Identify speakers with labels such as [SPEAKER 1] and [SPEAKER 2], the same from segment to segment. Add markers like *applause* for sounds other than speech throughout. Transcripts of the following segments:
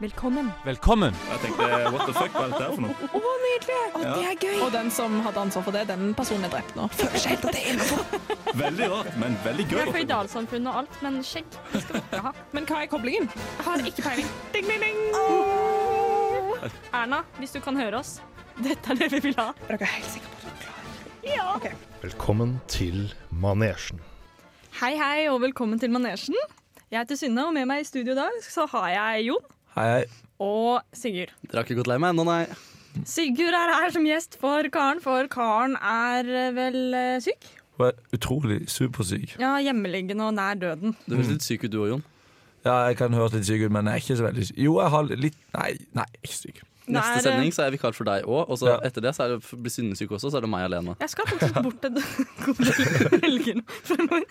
[SPEAKER 1] Velkommen.
[SPEAKER 2] Velkommen!
[SPEAKER 3] Og Jeg tenkte what the fuck, hva er dette her for noe?
[SPEAKER 4] Å, nydelig! Å, det er gøy! Og den som hadde ansvar for det, den personen er drept nå. Føler seg helt at det er innenfor.
[SPEAKER 3] Veldig rart, men veldig gøy.
[SPEAKER 1] Vi er føydalsamfunnet og alt, men skjegg det skal vi ikke ha.
[SPEAKER 4] Men hva er koblingen?
[SPEAKER 1] Jeg har ikke peiling. Ding, ding, ding. Erna, hvis du kan høre oss, dette er det vi vil ha.
[SPEAKER 4] Er dere helt sikre på at dere er klare?
[SPEAKER 5] Velkommen til Manesjen.
[SPEAKER 1] Hei, hei, og velkommen til Manesjen. Jeg heter Synne, og med meg i studio i dag så har jeg Jon
[SPEAKER 6] Hei, hei.
[SPEAKER 1] og Sigurd.
[SPEAKER 6] Dere har ikke gått lei meg ennå, nei.
[SPEAKER 1] Sigurd er her som gjest for Karen, for Karen er eh, vel eh, syk?
[SPEAKER 7] Hun er utrolig supersyk.
[SPEAKER 1] Ja, hjemmeliggende og nær døden.
[SPEAKER 6] Du høres litt syk ut du òg, Jon.
[SPEAKER 7] Ja, jeg kan høres litt syk ut, men jeg er ikke så veldig syk. Jo, jeg har litt Nei, nei, jeg er ikke syk.
[SPEAKER 1] Det
[SPEAKER 6] Neste
[SPEAKER 1] er, eh,
[SPEAKER 6] sending så er jeg vikar for deg òg, og så
[SPEAKER 7] Ja.
[SPEAKER 6] etter det så er det, blir Synne syk også, så er det meg alene.
[SPEAKER 1] Jeg skal faktisk bort en *laughs* god del helger
[SPEAKER 6] *laughs*
[SPEAKER 1] nå fremover.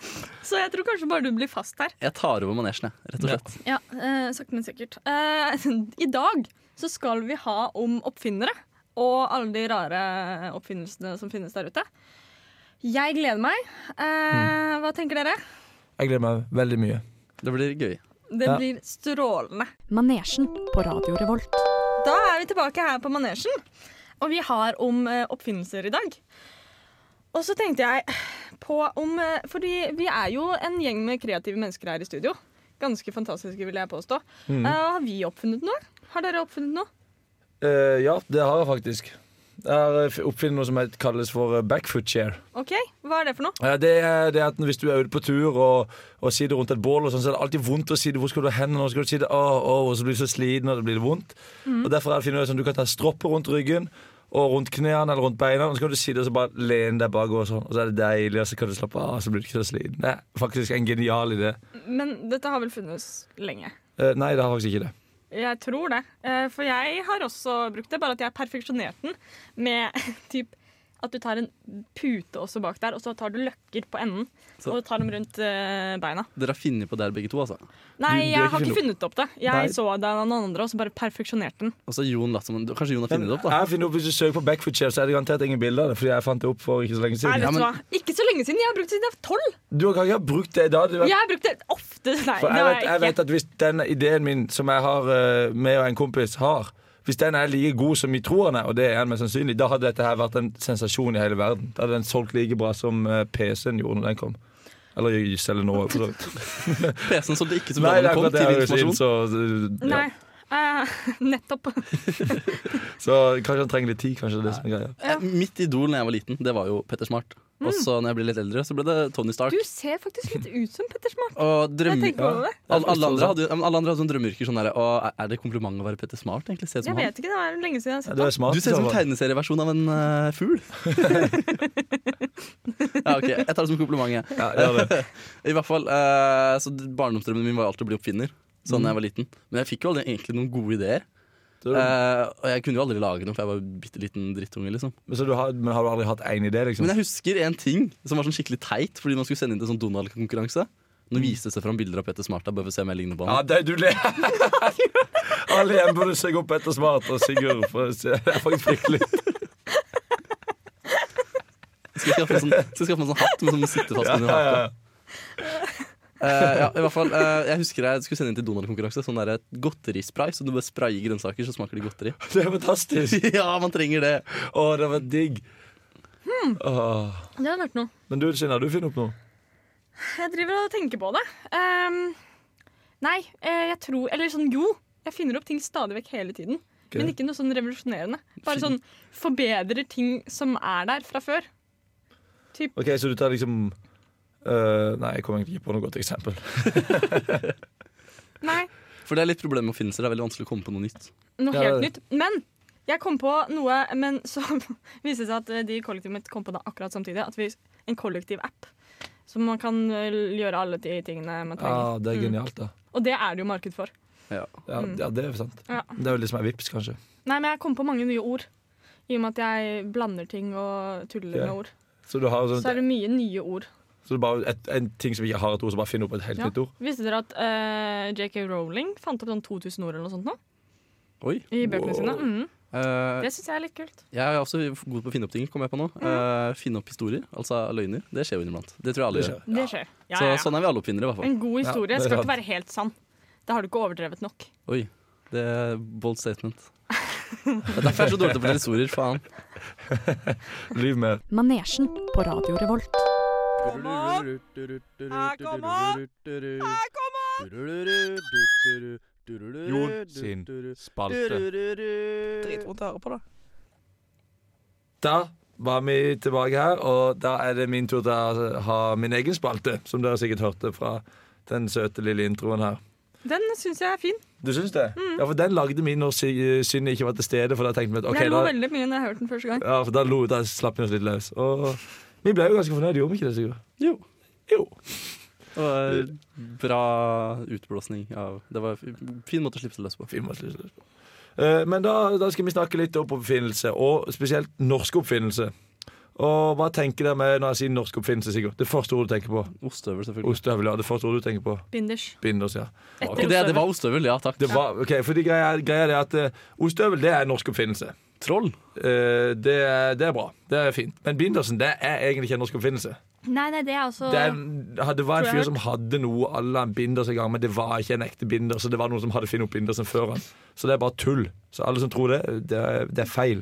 [SPEAKER 1] Så jeg tror kanskje bare du blir fast her.
[SPEAKER 6] Jeg tar over manesjen, jeg, rett og slett.
[SPEAKER 1] Ja, eh, sakte, men sikkert. Eh, *laughs* I dag så skal vi ha om oppfinnere. Og alle de rare oppfinnelsene som finnes der ute. Jeg gleder meg. Eh, hva tenker dere?
[SPEAKER 7] Jeg gleder meg veldig mye.
[SPEAKER 6] Det blir gøy.
[SPEAKER 1] Det
[SPEAKER 7] Ja.
[SPEAKER 1] blir strålende.
[SPEAKER 8] Manesjen på Radio Revolt.
[SPEAKER 1] Da er vi tilbake her på manesjen, og vi har om eh, oppfinnelser i dag. Og så tenkte jeg på om eh, Fordi vi er jo en gjeng med kreative mennesker her i studio. Ganske fantastiske, vil jeg påstå. Eh, har vi oppfunnet noe? Har dere oppfunnet noe?
[SPEAKER 7] Eh, ja, det har jeg faktisk. Jeg har eh, oppfunnet noe som het- kalles for eh, backfoot chair.
[SPEAKER 1] OK, hva er det for noe?
[SPEAKER 7] Eh, det er det at hvis du er ute på tur og, og sitter rundt et bål, og sånn, så er det alltid vondt å si det. Hvor skal du hen? Hvor skal du si det? Åh, åh, og så blir du så sliten, og det blir vondt. Og Derfor er det fint sånn, du kan ta stropper rundt ryggen. Og rundt knærne eller rundt beina. Og så kan du sitte og så bare lene deg bakover. og Sånn. Og så er det deilig, og så kan du slappe av. Og så blir du ikke så sliten. Det er faktisk en genial idé.
[SPEAKER 1] Men dette har vel funnes lenge.
[SPEAKER 7] Eh, nei, det har faktisk ikke det.
[SPEAKER 1] Jeg tror det. Eh, For jeg har også brukt det, bare at jeg perfeksjonerte den med *laughs* typ at du tar en pute også bak der, og så tar du løkker på enden
[SPEAKER 6] Så-
[SPEAKER 1] og tar dem rundt eh, beina.
[SPEAKER 6] Dere har funnet på det her begge to, altså.
[SPEAKER 1] Nei,
[SPEAKER 7] du har
[SPEAKER 1] jeg
[SPEAKER 7] ikke
[SPEAKER 1] har ikke funnet opp det. Jeg
[SPEAKER 7] Nei.
[SPEAKER 1] så det av noen andre, og så bare perfeksjonerte den.
[SPEAKER 6] Og så har Jon latt som en Kanskje Jon har funnet det opp, da.
[SPEAKER 7] Jeg finner opp, Hvis du søker på Backfoot Chair, så er det garantert ingen bilder av det. Fordi jeg fant det opp for ikke så lenge
[SPEAKER 1] Nei,
[SPEAKER 7] siden.
[SPEAKER 1] vet
[SPEAKER 6] Ja,
[SPEAKER 1] du
[SPEAKER 6] men-
[SPEAKER 1] hva? Ikke så lenge siden. Jeg har brukt det siden jeg var tolv.
[SPEAKER 7] Du har ikke brukt det i dag. Du vet.
[SPEAKER 1] Jeg har brukt det ofte. Nei,
[SPEAKER 7] For
[SPEAKER 1] det
[SPEAKER 7] jeg
[SPEAKER 1] har
[SPEAKER 7] vet, jeg
[SPEAKER 1] jeg
[SPEAKER 7] vet
[SPEAKER 1] ikke.
[SPEAKER 7] at hvis den ideen min som jeg har eh, med og en kompis har Hvis den er like god som vi tror den er, og det er den mest sannsynlig, da hadde dette her vært en sensasjon i hele verden. Da hadde den solgt like bra som eh, PC-en gjorde når den kom. Eller Ys eller noe. For så
[SPEAKER 6] *laughs*
[SPEAKER 7] vidt.
[SPEAKER 6] PC-en solgte ikke så
[SPEAKER 7] Nei,
[SPEAKER 6] bra
[SPEAKER 7] det
[SPEAKER 6] den
[SPEAKER 7] er
[SPEAKER 6] kom
[SPEAKER 7] akkurat det
[SPEAKER 6] til
[SPEAKER 7] jeg har sett,
[SPEAKER 6] informasjon.
[SPEAKER 7] så, ja.
[SPEAKER 1] Nei. eh, *laughs* nettopp.
[SPEAKER 7] så kanskje han trenger litt tid. Kanskje det er det som er greia.
[SPEAKER 6] Eh, Mitt idol da jeg var liten, det var jo Petter Smart. Og så når jeg ble litt eldre, så ble det Tony Stark.
[SPEAKER 1] Mm. Du ser faktisk litt ut som Petter Smart.
[SPEAKER 6] Og
[SPEAKER 1] Jeg
[SPEAKER 6] drømme...
[SPEAKER 1] tenker over det.
[SPEAKER 6] Alle, alle andre hadde jo ja, men alle andre hadde sånn drømmeyrker sånn derre «Å, Er det kompliment å være Petter Smart, egentlig? Se
[SPEAKER 1] Jeg
[SPEAKER 6] ut som han.
[SPEAKER 1] vet ikke, det er lenge siden jeg har
[SPEAKER 7] Ja,
[SPEAKER 1] sett
[SPEAKER 7] du
[SPEAKER 1] det.
[SPEAKER 7] er smart.
[SPEAKER 6] Du ser ut som en
[SPEAKER 7] Sara.
[SPEAKER 6] tegneserieversjon av en eh,
[SPEAKER 7] *laughs*
[SPEAKER 6] fugl. ja, ok, Jeg tar det som en kompliment. jeg.
[SPEAKER 7] Ja, gjør
[SPEAKER 6] *laughs*
[SPEAKER 7] det.
[SPEAKER 6] I hvert fall, eh, så Barndomsdrømmen min var jo alltid å bli oppfinner. Sånn
[SPEAKER 7] Mm.
[SPEAKER 6] da jeg var liten Men jeg fikk jo aldri egentlig noen gode ideer.
[SPEAKER 7] Så,
[SPEAKER 6] Eh, og jeg kunne jo aldri lage noe, for jeg var en bitte liten drittunge. liksom
[SPEAKER 7] så du har, men har du aldri hatt én idé, liksom?
[SPEAKER 6] Men jeg husker en ting som var sånn skikkelig teit, fordi man skulle sende inn til en sånn Donald-konkurranse. Nå viste det seg fram bilder av Petter Smart. der, Bare for å se om jeg ligner på
[SPEAKER 7] Mm. Ja,
[SPEAKER 6] han
[SPEAKER 7] det, du ler. *laughs* Alle igjen burde søke opp etter Smart og Sigurd. For å se. det er faktisk fryktelig.
[SPEAKER 6] *laughs* Skal jeg skaffe meg sånn, skal jeg skaffe meg sånn hatt med sånn sitter
[SPEAKER 7] *laughs*
[SPEAKER 6] fast
[SPEAKER 7] Ja, ja,
[SPEAKER 6] under haka.
[SPEAKER 7] ja.
[SPEAKER 6] Eh, ja, i hvert fall, eh, jeg husker jeg skulle sende inn til Donald-konkurranse sånn der godterispray. Så du bare sprayer grønnsaker, så smaker det godteri. *laughs*
[SPEAKER 7] *laughs* Det er fantastisk.
[SPEAKER 6] ja, man trenger det!
[SPEAKER 7] Å, det var digg.
[SPEAKER 1] Hmm.
[SPEAKER 7] Åh.
[SPEAKER 1] Det har vært noe.
[SPEAKER 7] Men du, Sina, du finner opp noe.
[SPEAKER 1] Jeg driver og tenker på det. Ehm, nei, eh, jeg tror Eller sånn, jo. Jeg finner opp ting stadig vekk hele tiden.
[SPEAKER 7] Ok.
[SPEAKER 1] Men ikke noe sånn revolusjonerende. Bare sånn forbedrer ting som er der fra før.
[SPEAKER 7] Ok, Så du tar liksom øh, Nei, jeg kom egentlig ikke på noe godt eksempel.
[SPEAKER 1] Nei,
[SPEAKER 6] For det er litt problemet med oppfinnelser. Det er veldig vanskelig å komme på noe nytt.
[SPEAKER 1] noe
[SPEAKER 7] Ja,
[SPEAKER 1] helt
[SPEAKER 7] det-
[SPEAKER 1] nytt. Men jeg kom på noe Men *laughs* så viste det seg at eh, de i kollektivet mitt kom på det akkurat samtidig. At vi, en kollektiv app. Så man kan eh, gjøre alle de tingene man
[SPEAKER 7] Ja,
[SPEAKER 1] trenger.
[SPEAKER 7] Ah, Det er genialt, da.
[SPEAKER 1] Og det er det jo marked for.
[SPEAKER 6] Ja.
[SPEAKER 7] Ja, ja det er jo sant.
[SPEAKER 1] Hmm. Ja.
[SPEAKER 7] Det er jo litt som er vips, kanskje.
[SPEAKER 1] Nei, men jeg kom på mange nye ord. I og med at jeg blander ting og tuller
[SPEAKER 7] Ja.
[SPEAKER 1] med ord.
[SPEAKER 7] Så du har jo
[SPEAKER 1] Så er
[SPEAKER 7] sånt,
[SPEAKER 1] det mye nye ord.
[SPEAKER 7] så det er bare et, en ting som ikke har et ord, så bare finner opp et helt
[SPEAKER 1] Ja.
[SPEAKER 7] nytt ord.
[SPEAKER 1] Visste dere at eh, JK Rowling fant opp sånn 2000 ord eller noe sånt nå?
[SPEAKER 6] Oi.
[SPEAKER 1] I bøkene sine. Mhm.
[SPEAKER 6] Eh,
[SPEAKER 1] Det syns jeg er litt kult.
[SPEAKER 6] jeg er også god på å finne opp ting. Kom jeg på nå Eh, Finne opp historier, altså løgner. Det skjer jo inniblant. Det tror jeg alle
[SPEAKER 7] Det
[SPEAKER 6] gjør.
[SPEAKER 7] skjer.
[SPEAKER 1] Det skjer. Ja,
[SPEAKER 6] Så
[SPEAKER 1] ja, ja.
[SPEAKER 6] sånn er vi alle oppfinnere, i hvert fall.
[SPEAKER 1] En god historie
[SPEAKER 7] det er
[SPEAKER 1] skal
[SPEAKER 7] sant.
[SPEAKER 1] ikke være helt sann. Da har du ikke overdrevet nok.
[SPEAKER 6] Oi. Det er bold
[SPEAKER 1] *laughs*
[SPEAKER 6] statement. Det er derfor jeg er så dårlig til å fortelle historier, faen.
[SPEAKER 7] Lyv med.
[SPEAKER 8] Manesjen på Radio Revolt.
[SPEAKER 6] Kom opp!
[SPEAKER 1] Ah,
[SPEAKER 6] Kom opp!
[SPEAKER 7] Jon sin spalte.
[SPEAKER 4] Dritvondt å høre på, da.
[SPEAKER 7] Da var vi tilbake her, og da er det min tur til å ha min egen spalte, som dere sikkert hørte fra den søte lille introen her.
[SPEAKER 1] Den syns jeg er fin.
[SPEAKER 7] Du syns det? Ja, for den lagde vi når Sy- eh, Synne ikke var til stede, for da tenkte vi at ok,
[SPEAKER 1] jeg lo
[SPEAKER 7] da,
[SPEAKER 1] veldig mye når jeg hørte den første gang.
[SPEAKER 7] ja, for da, lo, da slapp vi oss litt løs. Og vi ble jo ganske fornøyde, gjorde vi ikke det, Sigurd?
[SPEAKER 6] Jo.
[SPEAKER 7] Jo.
[SPEAKER 6] Og eh, bra utblåsning av Det var en fin måte å slippe seg løs på.
[SPEAKER 7] Vi må slutte løs på. Eh, Men da, da skal vi snakke litt om oppfinnelse, og spesielt norsk oppfinnelse. Og hva tenker dere med når jeg sier norsk oppfinnelse, Sigurd? Det første ordet du tenker på?
[SPEAKER 6] Ostehøvel, selvfølgelig.
[SPEAKER 7] Ostehøvel, ja. Det første ordet du tenker på?
[SPEAKER 1] Binders.
[SPEAKER 7] Binders, ja.
[SPEAKER 6] Var ikke det, det var ostehøvel, ja takk.
[SPEAKER 7] Det var, ok, fordi greia, greia er det at eh, ostehøvel det er en norsk oppfinnelse.
[SPEAKER 6] Troll.
[SPEAKER 7] Eh, det, er, det er bra. Det er fint. Men bindersen det er egentlig ikke en norsk oppfinnelse.
[SPEAKER 1] Nei, nei, det er altså
[SPEAKER 7] Det, er, det var
[SPEAKER 1] Tror jeg
[SPEAKER 7] en fyr
[SPEAKER 1] jeg
[SPEAKER 7] som hadde noe à la en binders en gang, men det var ikke en ekte binder. Så det var noen som hadde funnet opp bindersen før han. Så det er bare tull. Så alle som tror det, det er, det er feil.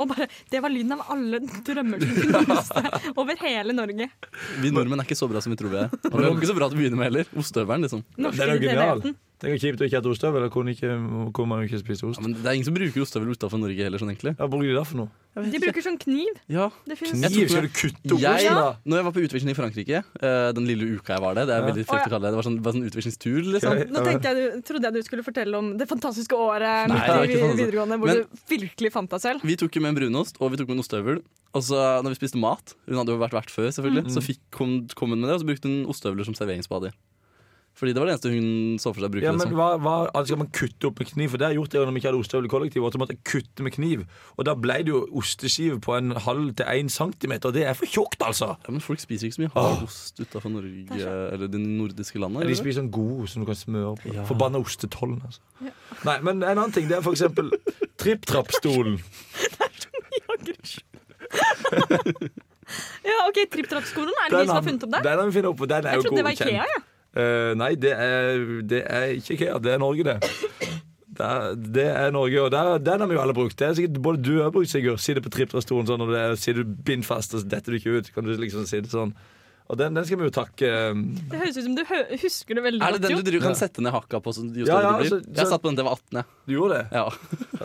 [SPEAKER 1] Og bare, Det var lyden av alle drømmer som knuste over hele Norge.
[SPEAKER 6] Vi nordmenn er ikke så bra som vi tror vi *laughs* er. Og vi er ikke så bra til å begynne med heller. Ostehøvelen, liksom.
[SPEAKER 1] Norske
[SPEAKER 7] Den er jo genial.
[SPEAKER 1] identiteten.
[SPEAKER 7] Det er jo kjipt å ikke ha ostehøvel. Da kunne, ikke- kunne man jo ikke spise
[SPEAKER 6] Ja,
[SPEAKER 7] ost.
[SPEAKER 6] men det er ingen som bruker ostehøvel utenfor Norge heller, sånn egentlig.
[SPEAKER 7] Hva bruker de da for noe?
[SPEAKER 1] De bruker sånn kniv.
[SPEAKER 6] Ja.
[SPEAKER 1] Det finnes
[SPEAKER 7] Kniv? Skal du kutte opp
[SPEAKER 6] Jeg-
[SPEAKER 7] osten, da?
[SPEAKER 6] Når jeg var på utveksling i Frankrike, eh, den lille uka jeg var der Det er
[SPEAKER 7] Ja.
[SPEAKER 6] veldig frekt å kalle det. Det var sånn, bare sånn utvekslingstur, liksom.
[SPEAKER 1] Nå tenkte jeg, du- trodde jeg du skulle fortelle om det fantastiske året
[SPEAKER 6] Nei,
[SPEAKER 1] midt
[SPEAKER 6] det er
[SPEAKER 1] i
[SPEAKER 6] ikke sånn fantastisk.
[SPEAKER 1] videregående hvor
[SPEAKER 6] Men-
[SPEAKER 1] du virkelig fant deg selv.
[SPEAKER 6] Vi tok jo med en brunost, og vi tok med en ostehøvel. Og så når vi spiste mat, hun hadde jo vært vert før, selvfølgelig,
[SPEAKER 7] Mm.
[SPEAKER 6] så fikk, kom, kom hun med det, og så brukte hun ostehøvler som serveringsspade. Fordi det var det eneste hun så for seg å bruke.
[SPEAKER 7] Ja,
[SPEAKER 6] det
[SPEAKER 7] men
[SPEAKER 6] som.
[SPEAKER 7] hva, hva, altså Skal man kutte opp med kniv? For det har jeg gjort det når vi ikke hadde ostehøvel i kollektivet. at jeg måtte kutte med kniv Og da ble det jo osteskive på en halv til én centimeter. og Det er for tjukt, altså!
[SPEAKER 6] Ja, men folk spiser ikke så mye hard ost utafor Norge eller de nordiske
[SPEAKER 7] De
[SPEAKER 6] landene. gjør de?
[SPEAKER 7] spiser sånn god ost som du kan smøre på.
[SPEAKER 6] Ja.
[SPEAKER 7] Forbanna ostetollen, altså. Nei, men en annen ting det er for
[SPEAKER 1] *laughs*
[SPEAKER 7] eksempel tripp-trapp-stolen.
[SPEAKER 1] Ja, ok, Tripp-trapp-skolen, er det de som har funnet opp det?
[SPEAKER 7] Den har vi funnet opp, og den er
[SPEAKER 1] Jeg
[SPEAKER 7] jo
[SPEAKER 1] trodde det var
[SPEAKER 7] godkjent.
[SPEAKER 1] Ikea. Ja.
[SPEAKER 7] Eh, nei, det er, det er ikke IKEA. Det er Norge, det. Det er, det er Norge, og der, den har vi jo alle brukt. Det er sikkert Både du og jeg har brukt, Sigurd. Sitte på tripptrastolen sånn, og det er, sitter du bindfast, og så detter du ikke ut. Kan du liksom sitte sånn Og den, den skal vi jo takke. eh,
[SPEAKER 1] Det høres ut som du hø husker det veldig
[SPEAKER 6] Er det
[SPEAKER 1] godt.
[SPEAKER 6] den du
[SPEAKER 1] jo.
[SPEAKER 6] driver, kan sette ned hakka på? Sånn, jo
[SPEAKER 7] Ja,
[SPEAKER 6] større
[SPEAKER 7] ja,
[SPEAKER 6] det blir?
[SPEAKER 7] så- så-
[SPEAKER 6] jeg satt på den til jeg var 18. jeg.
[SPEAKER 7] Du gjorde det?
[SPEAKER 6] Ja.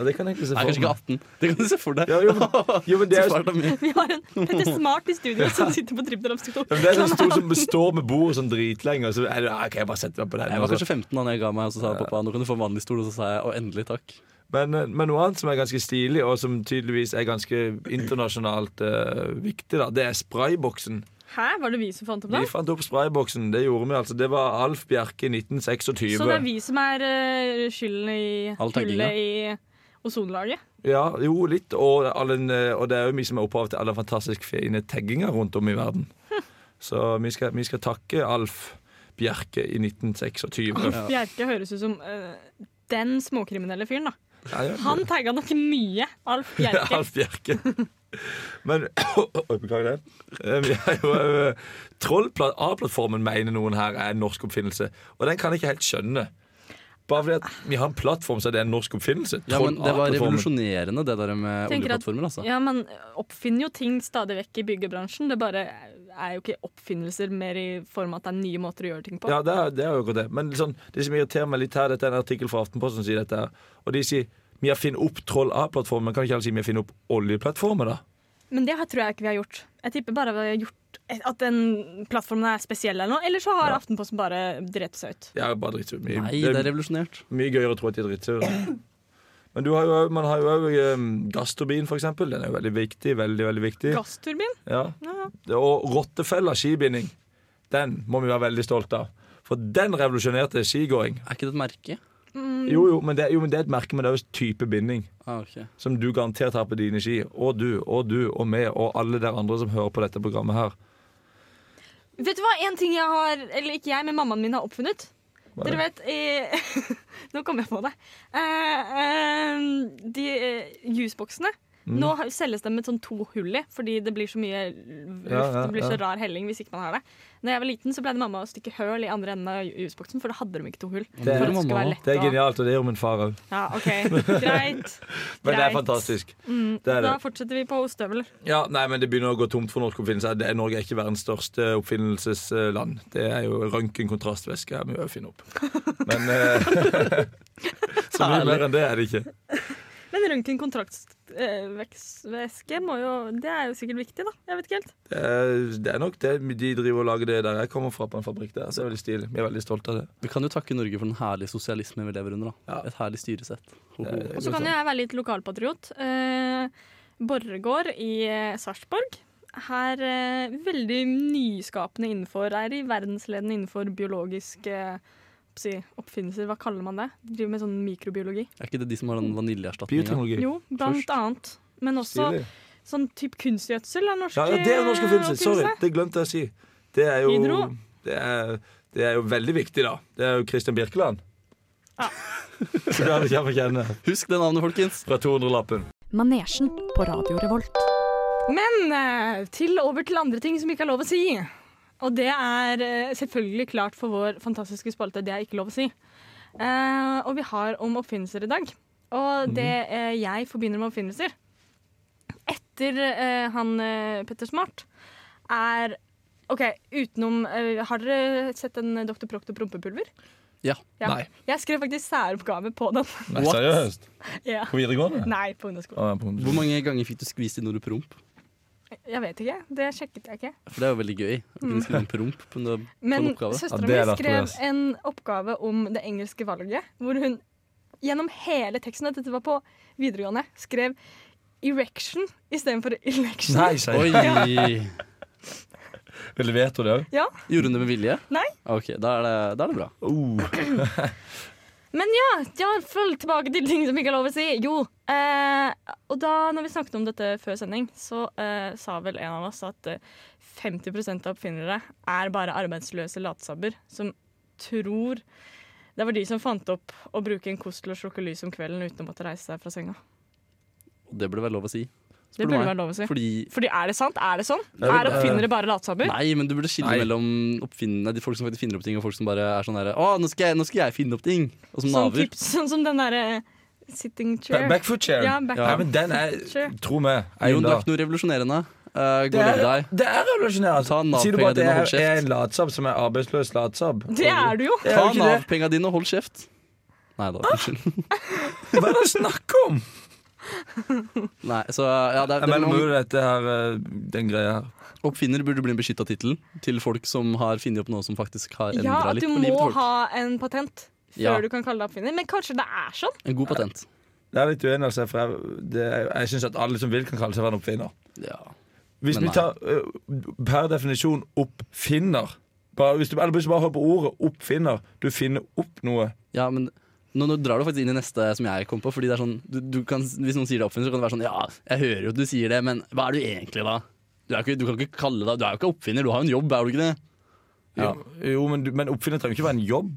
[SPEAKER 7] Ja, det kan jeg ikke se for
[SPEAKER 6] Nei, kanskje ikke 18. Det kan du se for deg.
[SPEAKER 7] Ja, jo, men,
[SPEAKER 6] *laughs*
[SPEAKER 7] jo, men det
[SPEAKER 6] Så
[SPEAKER 7] er,
[SPEAKER 6] fælt av meg.
[SPEAKER 1] Vi har en Petter Smart i studio som sitter på tripp-trapp-skolen.
[SPEAKER 7] ja, men det er sånn stor som står med bordet sånn dritlenge, og så er det, ja, ok, jeg bare setter meg på den.
[SPEAKER 6] Jeg
[SPEAKER 7] og
[SPEAKER 6] var
[SPEAKER 7] så-
[SPEAKER 6] kanskje 15 da jeg ga meg, og så sa pappa nå kan du få en vanlig stol. Og så sa jeg å, endelig, takk.
[SPEAKER 7] Men, eh, men noe annet som er ganske stilig, og som tydeligvis er ganske internasjonalt eh, viktig, da, det er sprayboksen.
[SPEAKER 1] Hæ, var det vi som fant opp det?
[SPEAKER 7] Vi fant opp sprayboksen. Det gjorde vi altså. Det var Alf Bjerke i 1926.
[SPEAKER 1] Så det er vi som er eh, skylden i
[SPEAKER 6] All tagginga.
[SPEAKER 1] hullet i ozonlaget?
[SPEAKER 7] Ja, jo, litt. Og, all den, eh, og det er jo vi som er opphavet til alle fantastisk fine tagginger rundt om i verden.
[SPEAKER 1] *laughs*
[SPEAKER 7] Så vi skal, vi skal takke Alf Bjerke i 1926.
[SPEAKER 1] Alf Bjerke høres ut som eh, den småkriminelle fyren, da.
[SPEAKER 7] Ja, ja. *laughs*
[SPEAKER 1] Han tagga nok mye Alf Bjerke.
[SPEAKER 7] Alf Bjerke. Men *coughs* Oi, beklager det. Eh, Vi er jo eh, Trollpla- A-plattformen mener noen her er en norsk oppfinnelse, og den kan jeg ikke helt skjønne. Bare fordi at vi har en plattform, så er det en norsk oppfinnelse.
[SPEAKER 6] Ja, men Det var
[SPEAKER 7] Troll-A-plattformen.
[SPEAKER 6] revolusjonerende, det der med
[SPEAKER 1] Tenker at-
[SPEAKER 6] oljeplattformer. altså.
[SPEAKER 1] Ja, Man oppfinner jo ting stadig vekk i byggebransjen. Det bare er jo ikke oppfinnelser mer i form av at det er nye måter å gjøre ting på.
[SPEAKER 7] Ja, det er, det er jo akkurat det. Men sånn, det som irriterer meg litt her, dette er en artikkel fra Aftenposten som sier dette her. Og de sier vi har funnet opp Troll A-plattformen. Kan ikke alle si vi har funnet opp oljeplattformer, da?
[SPEAKER 1] Men det her tror jeg ikke vi har gjort. Jeg tipper bare vi har gjort at den plattformen er spesiell eller noe. Eller så har Aftenposten bare dritt seg ut.
[SPEAKER 7] Jeg er bare dritsur. Mye-
[SPEAKER 6] Nei,
[SPEAKER 7] det
[SPEAKER 6] det er
[SPEAKER 7] er
[SPEAKER 6] revolusjonert.
[SPEAKER 7] mye gøyere å tro at de er dritsure. Men du har jo, man har jo òg gassturbin, for eksempel. Den er jo veldig viktig. veldig, veldig viktig.
[SPEAKER 1] Gassturbin?
[SPEAKER 7] Ja. Og rottefella skibinding. Den må vi være veldig stolte av. For den revolusjonerte skigåing.
[SPEAKER 6] Er ikke det et merke? Mm.
[SPEAKER 7] Jo, jo, men det, jo, men det er et merke, men det er jo type binding.
[SPEAKER 6] Ah, ok.
[SPEAKER 7] som du garantert har på dine ski. Og du, og du, og meg, og alle der andre som hører på dette programmet her.
[SPEAKER 1] Vet du hva, en ting jeg har, eller ikke jeg, men mammaen min har oppfunnet? Dere vet *laughs* i Nå kom jeg på det. Eh, eh, de eh, jusboksene. Nå har- selges den med sånn to hull i, fordi det blir så mye luft.
[SPEAKER 7] Ja, ja,
[SPEAKER 1] det blir
[SPEAKER 7] ja.
[SPEAKER 1] så rar helling hvis ikke man har det. Når jeg var liten, så pleide mamma å stikke høl i andre enden av jusboksen, for da hadde de ikke to hull.
[SPEAKER 7] Det
[SPEAKER 1] for
[SPEAKER 7] er-
[SPEAKER 1] at det skulle være lett
[SPEAKER 7] Det er
[SPEAKER 1] å-
[SPEAKER 7] genialt, og det gjør min far òg.
[SPEAKER 1] Ja, *laughs* OK. Greit.
[SPEAKER 7] Men det er
[SPEAKER 1] Greit.
[SPEAKER 7] fantastisk.
[SPEAKER 1] Mm,
[SPEAKER 7] Det er det.
[SPEAKER 1] Da fortsetter vi på ostehøvel.
[SPEAKER 7] Ja, nei, men Det begynner å gå tomt for norsk oppfinnelse. Det er- Norge er ikke verdens største oppfinnelsesland. Det er jo røntgenkontrastvæske her vi må finne opp. Men eh, *laughs* Så mye mer enn det er det ikke.
[SPEAKER 1] Men røntgenkontraktvæske må jo Det er jo sikkert viktig, da. Jeg vet ikke helt.
[SPEAKER 7] Det er, det er nok det de driver og lager det der jeg kommer fra, på en fabrikk der. Så det er veldig stilig. Vi er veldig stolte av det.
[SPEAKER 6] Vi kan jo takke Norge for den herlige sosialismen vi lever under. da
[SPEAKER 7] Ja.
[SPEAKER 6] Et herlig styresett. Ho, ho.
[SPEAKER 7] Det er
[SPEAKER 1] Og så kan
[SPEAKER 7] godt,
[SPEAKER 1] jeg være litt lokalpatriot. Eh, Borregaard i eh, Sarpsborg. Her eh, veldig nyskapende innenfor Er i verdensledende innenfor biologisk eh, si, oppfinnelser. Hva kaller man det? De driver med sånn mikrobiologi.
[SPEAKER 6] Er ikke det de som har den
[SPEAKER 7] da.
[SPEAKER 6] vaniljeerstatninga?
[SPEAKER 7] Bioteknologi.
[SPEAKER 1] Jo, blant
[SPEAKER 6] Først.
[SPEAKER 1] annet. Men også
[SPEAKER 7] Stilig.
[SPEAKER 1] sånn type kunstgjødsel er norsk eh,
[SPEAKER 7] Ja, ja, det er norsk oppfinnelse. Sorry,
[SPEAKER 1] oppfinnelse.
[SPEAKER 7] det glemte jeg å si. Det er jo,
[SPEAKER 1] Hydro.
[SPEAKER 7] det er, det er jo veldig viktig, da. Det er jo Christian Birkeland.
[SPEAKER 1] Ja.
[SPEAKER 7] *laughs* Så det har vi kjent å kjenne.
[SPEAKER 6] Husk det navnet, folkens!
[SPEAKER 7] Fra 200-lappen.
[SPEAKER 8] Manesjen på Radio Revolt.
[SPEAKER 1] Men eh, til over til andre ting som ikke er lov å si. Og det er eh, selvfølgelig klart for vår fantastiske spalte Det er ikke lov å si. Eh, og vi har om oppfinnelser i dag.
[SPEAKER 7] Mhm.
[SPEAKER 1] Og det eh, jeg forbinder med oppfinnelser etter eh, han eh, Petter Smart, er OK, utenom eh, Har dere sett en Dr. Proctor prompepulver?
[SPEAKER 6] Ja.
[SPEAKER 7] Nei.
[SPEAKER 1] Jeg skrev faktisk særoppgave på den. *laughs*
[SPEAKER 7] Nei,
[SPEAKER 6] What?
[SPEAKER 7] seriøst?
[SPEAKER 1] ja.
[SPEAKER 7] På videregående?
[SPEAKER 1] Nei, på ungdomsskolen.
[SPEAKER 7] Ah, på-
[SPEAKER 6] Hvor mange ganger fikk du skvist inn ordet promp?
[SPEAKER 1] Jeg vet ikke. Det sjekket jeg ikke.
[SPEAKER 6] For det er jo veldig gøy.
[SPEAKER 1] Mm.
[SPEAKER 6] Å kunne skrive en promp på en, på en
[SPEAKER 1] Men
[SPEAKER 6] oppgave.
[SPEAKER 7] Ja,
[SPEAKER 1] søstera
[SPEAKER 7] det er
[SPEAKER 1] mi
[SPEAKER 7] lett å
[SPEAKER 1] skrev
[SPEAKER 7] lese.
[SPEAKER 1] en oppgave om det engelske valget, hvor hun gjennom hele teksten, og dette var på videregående, skrev 'erection' istedenfor 'election'.
[SPEAKER 7] Nei, seriøst.
[SPEAKER 6] Oi!
[SPEAKER 7] *laughs* Ville vet du det òg?
[SPEAKER 1] Ja,
[SPEAKER 6] Gjorde hun det med vilje? Ah,
[SPEAKER 1] Nei.
[SPEAKER 6] Ok, Da er det, da er det bra.
[SPEAKER 7] Oh.
[SPEAKER 1] Men ja, ja, følg tilbake til ting som ikke er lov å si. Jo. Eh, og da når vi snakket om dette før sending, så eh, sa vel en av oss at eh, 50 av oppfinnere er bare arbeidsløse latsabber som tror det var de som fant opp å bruke en kost til å slukke lys om kvelden uten å måtte reise seg fra senga.
[SPEAKER 6] Og det burde være lov å si.
[SPEAKER 1] Det
[SPEAKER 6] Spør
[SPEAKER 1] burde
[SPEAKER 6] meg.
[SPEAKER 1] være lov å si.
[SPEAKER 6] Fordi
[SPEAKER 1] Fordi er det sant? Er det sånn?
[SPEAKER 7] vel,
[SPEAKER 1] Er oppfinnere bare latsabber?
[SPEAKER 6] Nei, men du burde skille
[SPEAKER 7] Nei.
[SPEAKER 6] mellom oppfinnende, de folk som faktisk finner opp ting, og folk som bare er sånn herre Å, nå skal, jeg, nå skal jeg finne opp ting! Og som
[SPEAKER 1] Sånn,
[SPEAKER 6] naver.
[SPEAKER 1] typ, sånn som den derre sitting chair.
[SPEAKER 7] Backfoot chair.
[SPEAKER 1] Ja, back-
[SPEAKER 7] Nei, men den er
[SPEAKER 1] Sure.
[SPEAKER 7] Tro meg.
[SPEAKER 6] Jon,
[SPEAKER 7] en
[SPEAKER 6] du
[SPEAKER 7] dag.
[SPEAKER 6] er ikke noe revolusjonerende. Eh, gå
[SPEAKER 7] Det
[SPEAKER 6] og legg
[SPEAKER 7] er,
[SPEAKER 6] deg.
[SPEAKER 7] det er
[SPEAKER 6] Ta
[SPEAKER 7] revolusjonært. Sier du bare
[SPEAKER 6] Nav-penga
[SPEAKER 7] at
[SPEAKER 6] dine
[SPEAKER 7] jeg
[SPEAKER 6] og hold
[SPEAKER 7] er,
[SPEAKER 6] kjeft.
[SPEAKER 7] er en latsabb som er arbeidsløs latsabb?
[SPEAKER 1] Det er du jo!
[SPEAKER 7] Det
[SPEAKER 6] Ta
[SPEAKER 7] er jo ikke det.
[SPEAKER 6] Nav-penga dine og hold kjeft. Nei da, unnskyld. *laughs*
[SPEAKER 7] Hva er det snakk om?
[SPEAKER 6] Nei, så ja, det, er-
[SPEAKER 7] Jeg
[SPEAKER 6] det,
[SPEAKER 7] mener
[SPEAKER 6] er-
[SPEAKER 7] mulig dette her, eh, den greia her.
[SPEAKER 6] Oppfinner burde bli en beskytta tittel til folk som har funnet opp noe som faktisk har endra
[SPEAKER 1] Ja, at
[SPEAKER 6] litt
[SPEAKER 1] du
[SPEAKER 6] på livet
[SPEAKER 1] må
[SPEAKER 6] til folk.
[SPEAKER 1] ha en patent før
[SPEAKER 6] Ja.
[SPEAKER 1] du kan kalle deg oppfinner. Men kanskje det er sånn?
[SPEAKER 6] En god patent.
[SPEAKER 7] Det er litt uenig, altså, for jeg, det, er- jeg syns at alle som vil, kan kalle seg for en oppfinner.
[SPEAKER 6] Ja.
[SPEAKER 7] Hvis
[SPEAKER 6] Men
[SPEAKER 7] vi tar eh, per definisjon oppfinner bare, hvis du, Eller hvis du bare hører på ordet oppfinner. Du finner opp noe.
[SPEAKER 6] ja, men nå, nå drar du faktisk inn i neste som jeg kom på. Fordi det er sånn, du, du kan, Hvis noen sier det er oppfinner, så kan det være sånn Ja, jeg hører jo at du sier det, men hva er du egentlig, da? Du, er ikke, du kan ikke kalle deg Du er jo ikke oppfinner, du har jo en jobb, er du ikke det? Ja.
[SPEAKER 7] Jo, men, du- men oppfinner trenger ikke være en jobb.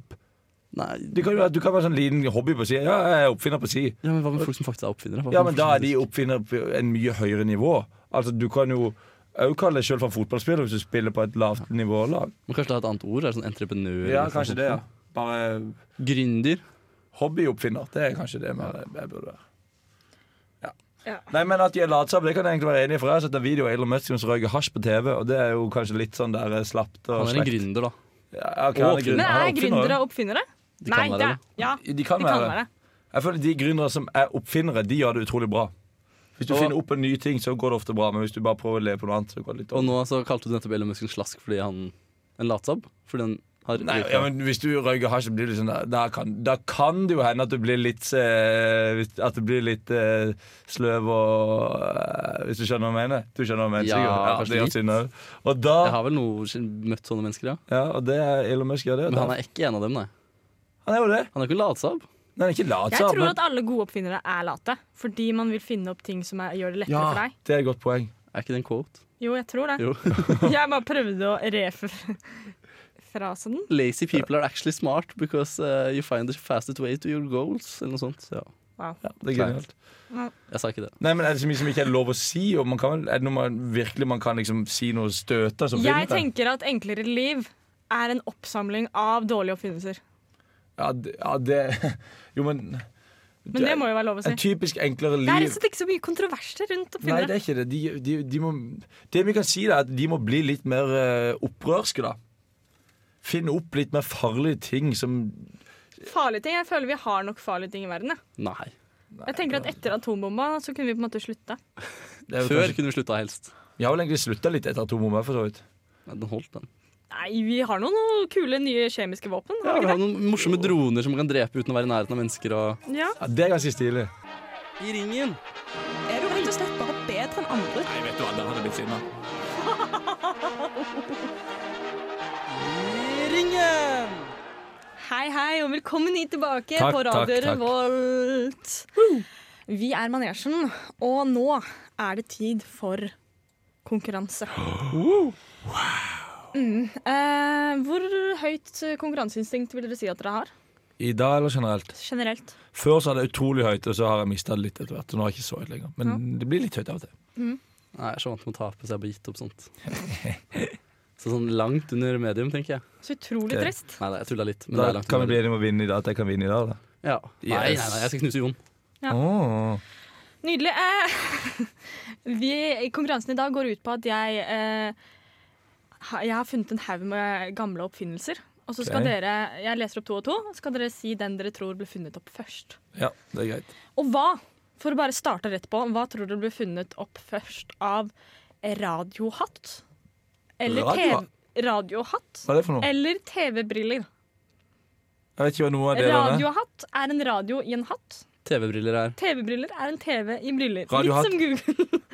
[SPEAKER 6] Nei,
[SPEAKER 7] Det kan jo være, du kan være sånn liten hobby på si. Ja, jeg er oppfinner på si.
[SPEAKER 6] ja, men Hva med folk som faktisk er oppfinnere? Hva
[SPEAKER 7] Ja,
[SPEAKER 6] med
[SPEAKER 7] men
[SPEAKER 6] folk
[SPEAKER 7] da
[SPEAKER 6] som
[SPEAKER 7] er de oppfinnere på en mye høyere nivå. Altså, du kan jo òg kalle deg sjøl for en fotballspiller hvis du spiller på et lavt nivålag.
[SPEAKER 6] Men Kanskje det er et annet ord? Er det sånn entreprenør?
[SPEAKER 7] Ja,
[SPEAKER 6] eller sånn
[SPEAKER 7] kanskje
[SPEAKER 6] sånt
[SPEAKER 7] det, ja.
[SPEAKER 6] noe?
[SPEAKER 7] Bare
[SPEAKER 6] Gründer.
[SPEAKER 7] hobbyoppfinner. Det er kanskje det mer jeg burde være. Ja.
[SPEAKER 1] Ja.
[SPEAKER 7] Nei, men At de er latsomme, det kan jeg egentlig være enig i. For jeg har sett en video av Elon Musk som røyker hasj på TV, og det er jo kanskje litt sånn der eh, slapt og
[SPEAKER 6] Han er en gründer, da.
[SPEAKER 7] Ja, ok, han er
[SPEAKER 6] Åpner.
[SPEAKER 1] Men
[SPEAKER 7] gründer. Han
[SPEAKER 1] er
[SPEAKER 7] oppfinner,
[SPEAKER 1] gründere oppfinnere?
[SPEAKER 6] De
[SPEAKER 1] Nei,
[SPEAKER 6] kan være
[SPEAKER 1] det er
[SPEAKER 6] det.
[SPEAKER 1] Ja,
[SPEAKER 7] ja. De
[SPEAKER 1] de
[SPEAKER 7] kan
[SPEAKER 1] kan
[SPEAKER 7] være
[SPEAKER 1] være
[SPEAKER 7] det. Jeg føler de gründere som er oppfinnere, de gjør det utrolig bra. Hvis du
[SPEAKER 6] Og-
[SPEAKER 7] finner opp en ny ting, så går det ofte bra, men hvis du bare prøver å leve på noe annet, så går det litt dårlig.
[SPEAKER 6] Og nå så kalte du nettopp Elon Musk en slask fordi han En latsabb? Fordi han har
[SPEAKER 7] Nei, ja, men Hvis du røyker hasj, så blir du sånn der- da kan, da kan det jo hende at du blir litt eh, hvis- At du blir litt eh, sløv og eh, Hvis du skjønner hva jeg mener? Du skjønner hva jeg mener?
[SPEAKER 6] Ja,
[SPEAKER 7] sikkert.
[SPEAKER 6] kanskje
[SPEAKER 7] det gjør
[SPEAKER 6] litt.
[SPEAKER 7] synd også. Og
[SPEAKER 6] Jeg
[SPEAKER 7] da
[SPEAKER 6] har vel noe, møtt sånne mennesker, ja.
[SPEAKER 7] ja, Og det er Elon Musk gjør det.
[SPEAKER 6] Men
[SPEAKER 7] Han
[SPEAKER 6] han
[SPEAKER 7] er,
[SPEAKER 6] er ikke en av dem, nei.
[SPEAKER 7] han er jo det.
[SPEAKER 6] Han er ikke en latsabb.
[SPEAKER 7] Han er ikke lat.
[SPEAKER 1] Jeg
[SPEAKER 7] sa han,
[SPEAKER 1] tror
[SPEAKER 7] men-
[SPEAKER 1] at alle gode oppfinnere er late, fordi man vil finne opp ting som er, gjør det lettere for
[SPEAKER 7] ja,
[SPEAKER 1] deg.
[SPEAKER 7] det er et godt poeng.
[SPEAKER 6] Er ikke det en quote?
[SPEAKER 1] Jo, jeg tror det.
[SPEAKER 6] Jo.
[SPEAKER 1] *laughs* Jeg bare prøvde å refrase den.
[SPEAKER 6] Lazy people are actually smart because uh, you find the fastest way to your goals, eller noe sånt. Ja.
[SPEAKER 1] Wow.
[SPEAKER 7] Ja, det er genialt.
[SPEAKER 6] Jeg sa ikke det.
[SPEAKER 7] Nei, men Er det så mye som ikke er lov å si? Og man kan, vel- er det noe man virkelig man kan liksom si noe støtende? som
[SPEAKER 1] Jeg
[SPEAKER 7] filmet det?
[SPEAKER 1] tenker at Enklere liv er en oppsamling av dårlige oppfinnelser.
[SPEAKER 7] Ja, det, ja, det *laughs* Jo, men
[SPEAKER 1] Men det må jo være lov å
[SPEAKER 7] En
[SPEAKER 1] si.
[SPEAKER 7] typisk enklere liv
[SPEAKER 1] Det er rett og slett ikke så mye kontroverser rundt
[SPEAKER 7] Nei, det
[SPEAKER 1] oppfinnere.
[SPEAKER 7] er ikke det. De, de, de må, det vi kan si, da, er at de må bli litt mer eh, opprørske, da. Finne opp litt mer farlige ting som
[SPEAKER 1] Farlige ting. Jeg føler vi har nok farlige ting i verden. Jeg,
[SPEAKER 6] Nei.
[SPEAKER 1] jeg tenker at Etter atombomba så kunne vi på en måte slutte.
[SPEAKER 7] det er jo
[SPEAKER 6] Før
[SPEAKER 7] kanskje-
[SPEAKER 6] kunne vi slutta helst.
[SPEAKER 7] Vi har vel egentlig slutta litt etter atombomba, for så vidt.
[SPEAKER 6] Nei, den holdt, den.
[SPEAKER 1] Nei, vi har noen kule nye kjemiske våpen.
[SPEAKER 6] Ja,
[SPEAKER 1] Har vi
[SPEAKER 6] vi
[SPEAKER 1] ikke
[SPEAKER 6] har noen morsomme droner som man kan drepe uten å være i nærheten av mennesker. Og...
[SPEAKER 1] det? Ja.
[SPEAKER 7] Ja, det er ganske stilig.
[SPEAKER 6] I ringen!
[SPEAKER 4] Er du rett og slett bare bedre enn andre?
[SPEAKER 7] Nei, vet du hva, der hadde blitt sinna.
[SPEAKER 6] I ringen!
[SPEAKER 1] Hei, hei, og velkommen hit tilbake
[SPEAKER 7] Takk,
[SPEAKER 1] på Radio
[SPEAKER 7] takk, takk.
[SPEAKER 1] Revolt. Vi er Manesjen, og nå er det tid for konkurranse. Mm, eh, hvor høyt konkurranseinstinkt vil dere si at dere har?
[SPEAKER 7] I dag eller generelt?
[SPEAKER 1] Generelt.
[SPEAKER 7] Før så hadde jeg utrolig høyt, og så har jeg mista det litt etter hvert. Og nå har jeg ikke så høyt lenger. Men det blir litt høyt av og til.
[SPEAKER 6] Nei, jeg er så vant med å tape, så jeg har bare gitt opp sånt.
[SPEAKER 7] *laughs*
[SPEAKER 6] Så sånn langt under medium, tenker jeg.
[SPEAKER 1] Så utrolig
[SPEAKER 7] Ok.
[SPEAKER 1] trist.
[SPEAKER 6] Nei, nei, jeg tulla litt. Men det er
[SPEAKER 7] Da
[SPEAKER 6] langt
[SPEAKER 7] kan vi
[SPEAKER 6] under
[SPEAKER 7] bli
[SPEAKER 6] medium.
[SPEAKER 7] enige om å vinne i dag, at jeg kan vinne i dag, da.
[SPEAKER 6] Ja. Nei, nei,
[SPEAKER 7] Yes.
[SPEAKER 6] nei, jeg skal knuse Jon.
[SPEAKER 1] Ja.
[SPEAKER 7] Åh.
[SPEAKER 1] Nydelig. Eh, *laughs* vi, konkurransen i dag går ut på at jeg, eh, ha- jeg har funnet en haug med gamle oppfinnelser. Og så skal
[SPEAKER 7] Ok.
[SPEAKER 1] dere, Jeg leser opp to og to, og så skal dere si den dere tror ble funnet opp først.
[SPEAKER 7] Ja, det er greit.
[SPEAKER 1] Og hva, for å bare starte rett på, hva tror dere ble funnet opp først av radiohatt? Eller
[SPEAKER 7] Radiohatt?
[SPEAKER 1] TV radiohatt?
[SPEAKER 7] Hva er det for noe?
[SPEAKER 1] Eller TV-briller?
[SPEAKER 7] Jeg vet ikke hva noe av det der er.
[SPEAKER 1] Radiohatt er en radio i en hatt.
[SPEAKER 6] TV-briller her.
[SPEAKER 1] TV-briller er en TV i briller.
[SPEAKER 7] Radiohatt.
[SPEAKER 1] Litt som Google. *laughs*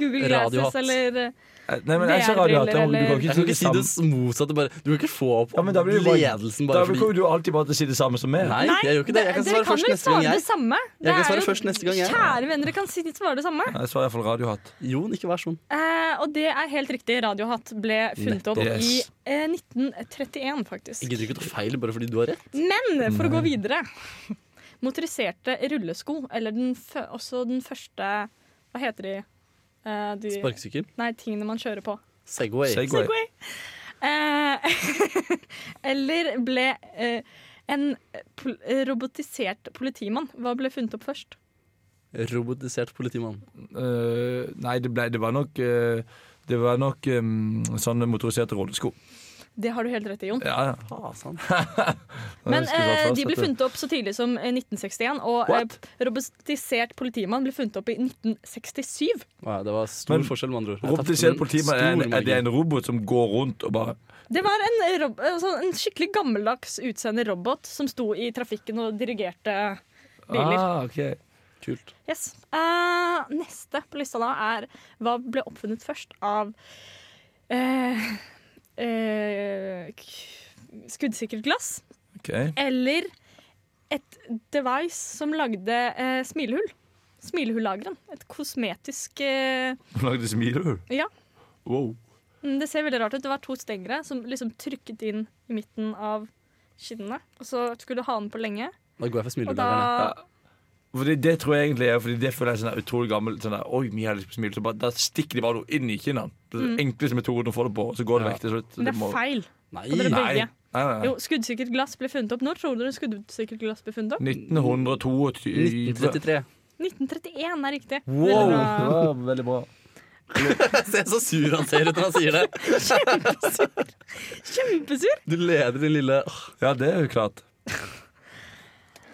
[SPEAKER 1] Google
[SPEAKER 6] Radiohatt.
[SPEAKER 1] Glasses eller eh,
[SPEAKER 7] Nei, men jeg ser radiohatt. Du kan
[SPEAKER 1] eller-
[SPEAKER 7] ikke
[SPEAKER 6] Jeg
[SPEAKER 7] si
[SPEAKER 6] kan ikke si det s- motsatte. Bare. Du kan ikke få opp
[SPEAKER 7] Ja, men da blir det bare-
[SPEAKER 6] ledelsen
[SPEAKER 7] Da
[SPEAKER 6] bare
[SPEAKER 7] kommer
[SPEAKER 6] fordi
[SPEAKER 7] du alltid bare til å si det samme som meg.
[SPEAKER 6] Nei, jeg gjør ikke det. Jeg kan
[SPEAKER 1] dere
[SPEAKER 6] svare først
[SPEAKER 1] vel
[SPEAKER 6] neste gang,
[SPEAKER 1] svare
[SPEAKER 6] jeg.
[SPEAKER 1] Det samme.
[SPEAKER 6] Jeg kan
[SPEAKER 1] Det er
[SPEAKER 6] svare
[SPEAKER 1] jo-
[SPEAKER 6] først neste gang, jeg.
[SPEAKER 1] Kjære venner, dere kan si, svare det samme.
[SPEAKER 7] Jeg svarer iallfall radiohatt.
[SPEAKER 6] Jon, ikke vær sånn.
[SPEAKER 1] Eh, og det er helt riktig. Radiohatt ble funnet opp
[SPEAKER 7] Nettopp.
[SPEAKER 1] i
[SPEAKER 7] Yes.
[SPEAKER 1] eh, 1931, faktisk.
[SPEAKER 6] Jeg gidder ikke ta feil bare fordi du har rett.
[SPEAKER 1] Men for å gå videre *laughs* Motoriserte rullesko, eller den fø også den første Hva heter de? Eh, de
[SPEAKER 6] Sparkesykkel.
[SPEAKER 1] Nei, tingene man kjører på.
[SPEAKER 6] Segway.
[SPEAKER 7] Segway.
[SPEAKER 1] Eh, *laughs* eller ble eh, en pol eh, robotisert politimann Hva ble funnet opp først?
[SPEAKER 6] Robotisert politimann.
[SPEAKER 7] Eh, nei, det, ble, det var nok eh, Det var nok um, sånne motoriserte rollesko.
[SPEAKER 1] Det har du helt rett i, Jon.
[SPEAKER 7] Ja, ja.
[SPEAKER 6] Fasan.
[SPEAKER 1] Men
[SPEAKER 7] Jeg skulle
[SPEAKER 1] eh,
[SPEAKER 7] bare
[SPEAKER 1] de ble
[SPEAKER 7] fast at det-
[SPEAKER 1] funnet opp så tidlig som eh, 1961, og eh,
[SPEAKER 7] What?
[SPEAKER 1] robotisert politimann ble funnet opp i 1967.
[SPEAKER 6] Wow, det var stor
[SPEAKER 7] Men
[SPEAKER 6] forskjell, med andre ord. Jeg tapte
[SPEAKER 7] Robotisert
[SPEAKER 6] en
[SPEAKER 7] politimann, er,
[SPEAKER 6] stor
[SPEAKER 7] en- er det
[SPEAKER 6] margin.
[SPEAKER 7] en robot som går rundt og bare
[SPEAKER 1] Det var en, eh, rob eh, sånn- en skikkelig gammeldags utseende robot som sto i trafikken og dirigerte biler.
[SPEAKER 7] ah, ok.
[SPEAKER 6] Kult.
[SPEAKER 1] Yes. Eh, neste på lista da er hva ble oppfunnet først av eh, eh, k- skuddsikkert glass
[SPEAKER 7] ok.
[SPEAKER 1] eller et device som lagde eh, smilehull. Smilehullageren. Et kosmetisk eh,
[SPEAKER 7] Hun lagde smilehull.
[SPEAKER 1] Ja.
[SPEAKER 7] Wow.
[SPEAKER 1] Mm, Det ser veldig rart ut. Det var to stengere som liksom trykket inn i midten av kinnene. Og så skulle du ha den på lenge,
[SPEAKER 6] Da går jeg for
[SPEAKER 1] og
[SPEAKER 6] smilebølgerne.
[SPEAKER 1] da
[SPEAKER 7] Fordi det tror jeg egentlig er Fordi det føler jeg er sånn der utrolig gammel sånn der, Oi, vi har liksom smil så bare, Da stikker de bare noe inn i kinnet Det er den enkleste metoden å få det på Og så går det
[SPEAKER 6] Ja.
[SPEAKER 7] vekk til slutt
[SPEAKER 1] Mm. Men det
[SPEAKER 7] må-
[SPEAKER 1] er feil.
[SPEAKER 6] Nei,
[SPEAKER 1] Og dere
[SPEAKER 7] Nei,
[SPEAKER 1] begge.
[SPEAKER 7] nei, nei,
[SPEAKER 1] Jo, skuddsikkert glass ble funnet opp. Når tror dere skuddsikkert glass ble funnet opp?
[SPEAKER 7] nei 1922
[SPEAKER 6] 1933.
[SPEAKER 1] 1931 er riktig.
[SPEAKER 7] Wow,
[SPEAKER 1] Veldig
[SPEAKER 7] det
[SPEAKER 1] bra.
[SPEAKER 7] var veldig bra
[SPEAKER 6] *laughs* Se så sur han ser ut når han sier det.
[SPEAKER 1] Kjempesur!
[SPEAKER 6] Du leder din lille Åh,
[SPEAKER 7] Ja, det er jo klart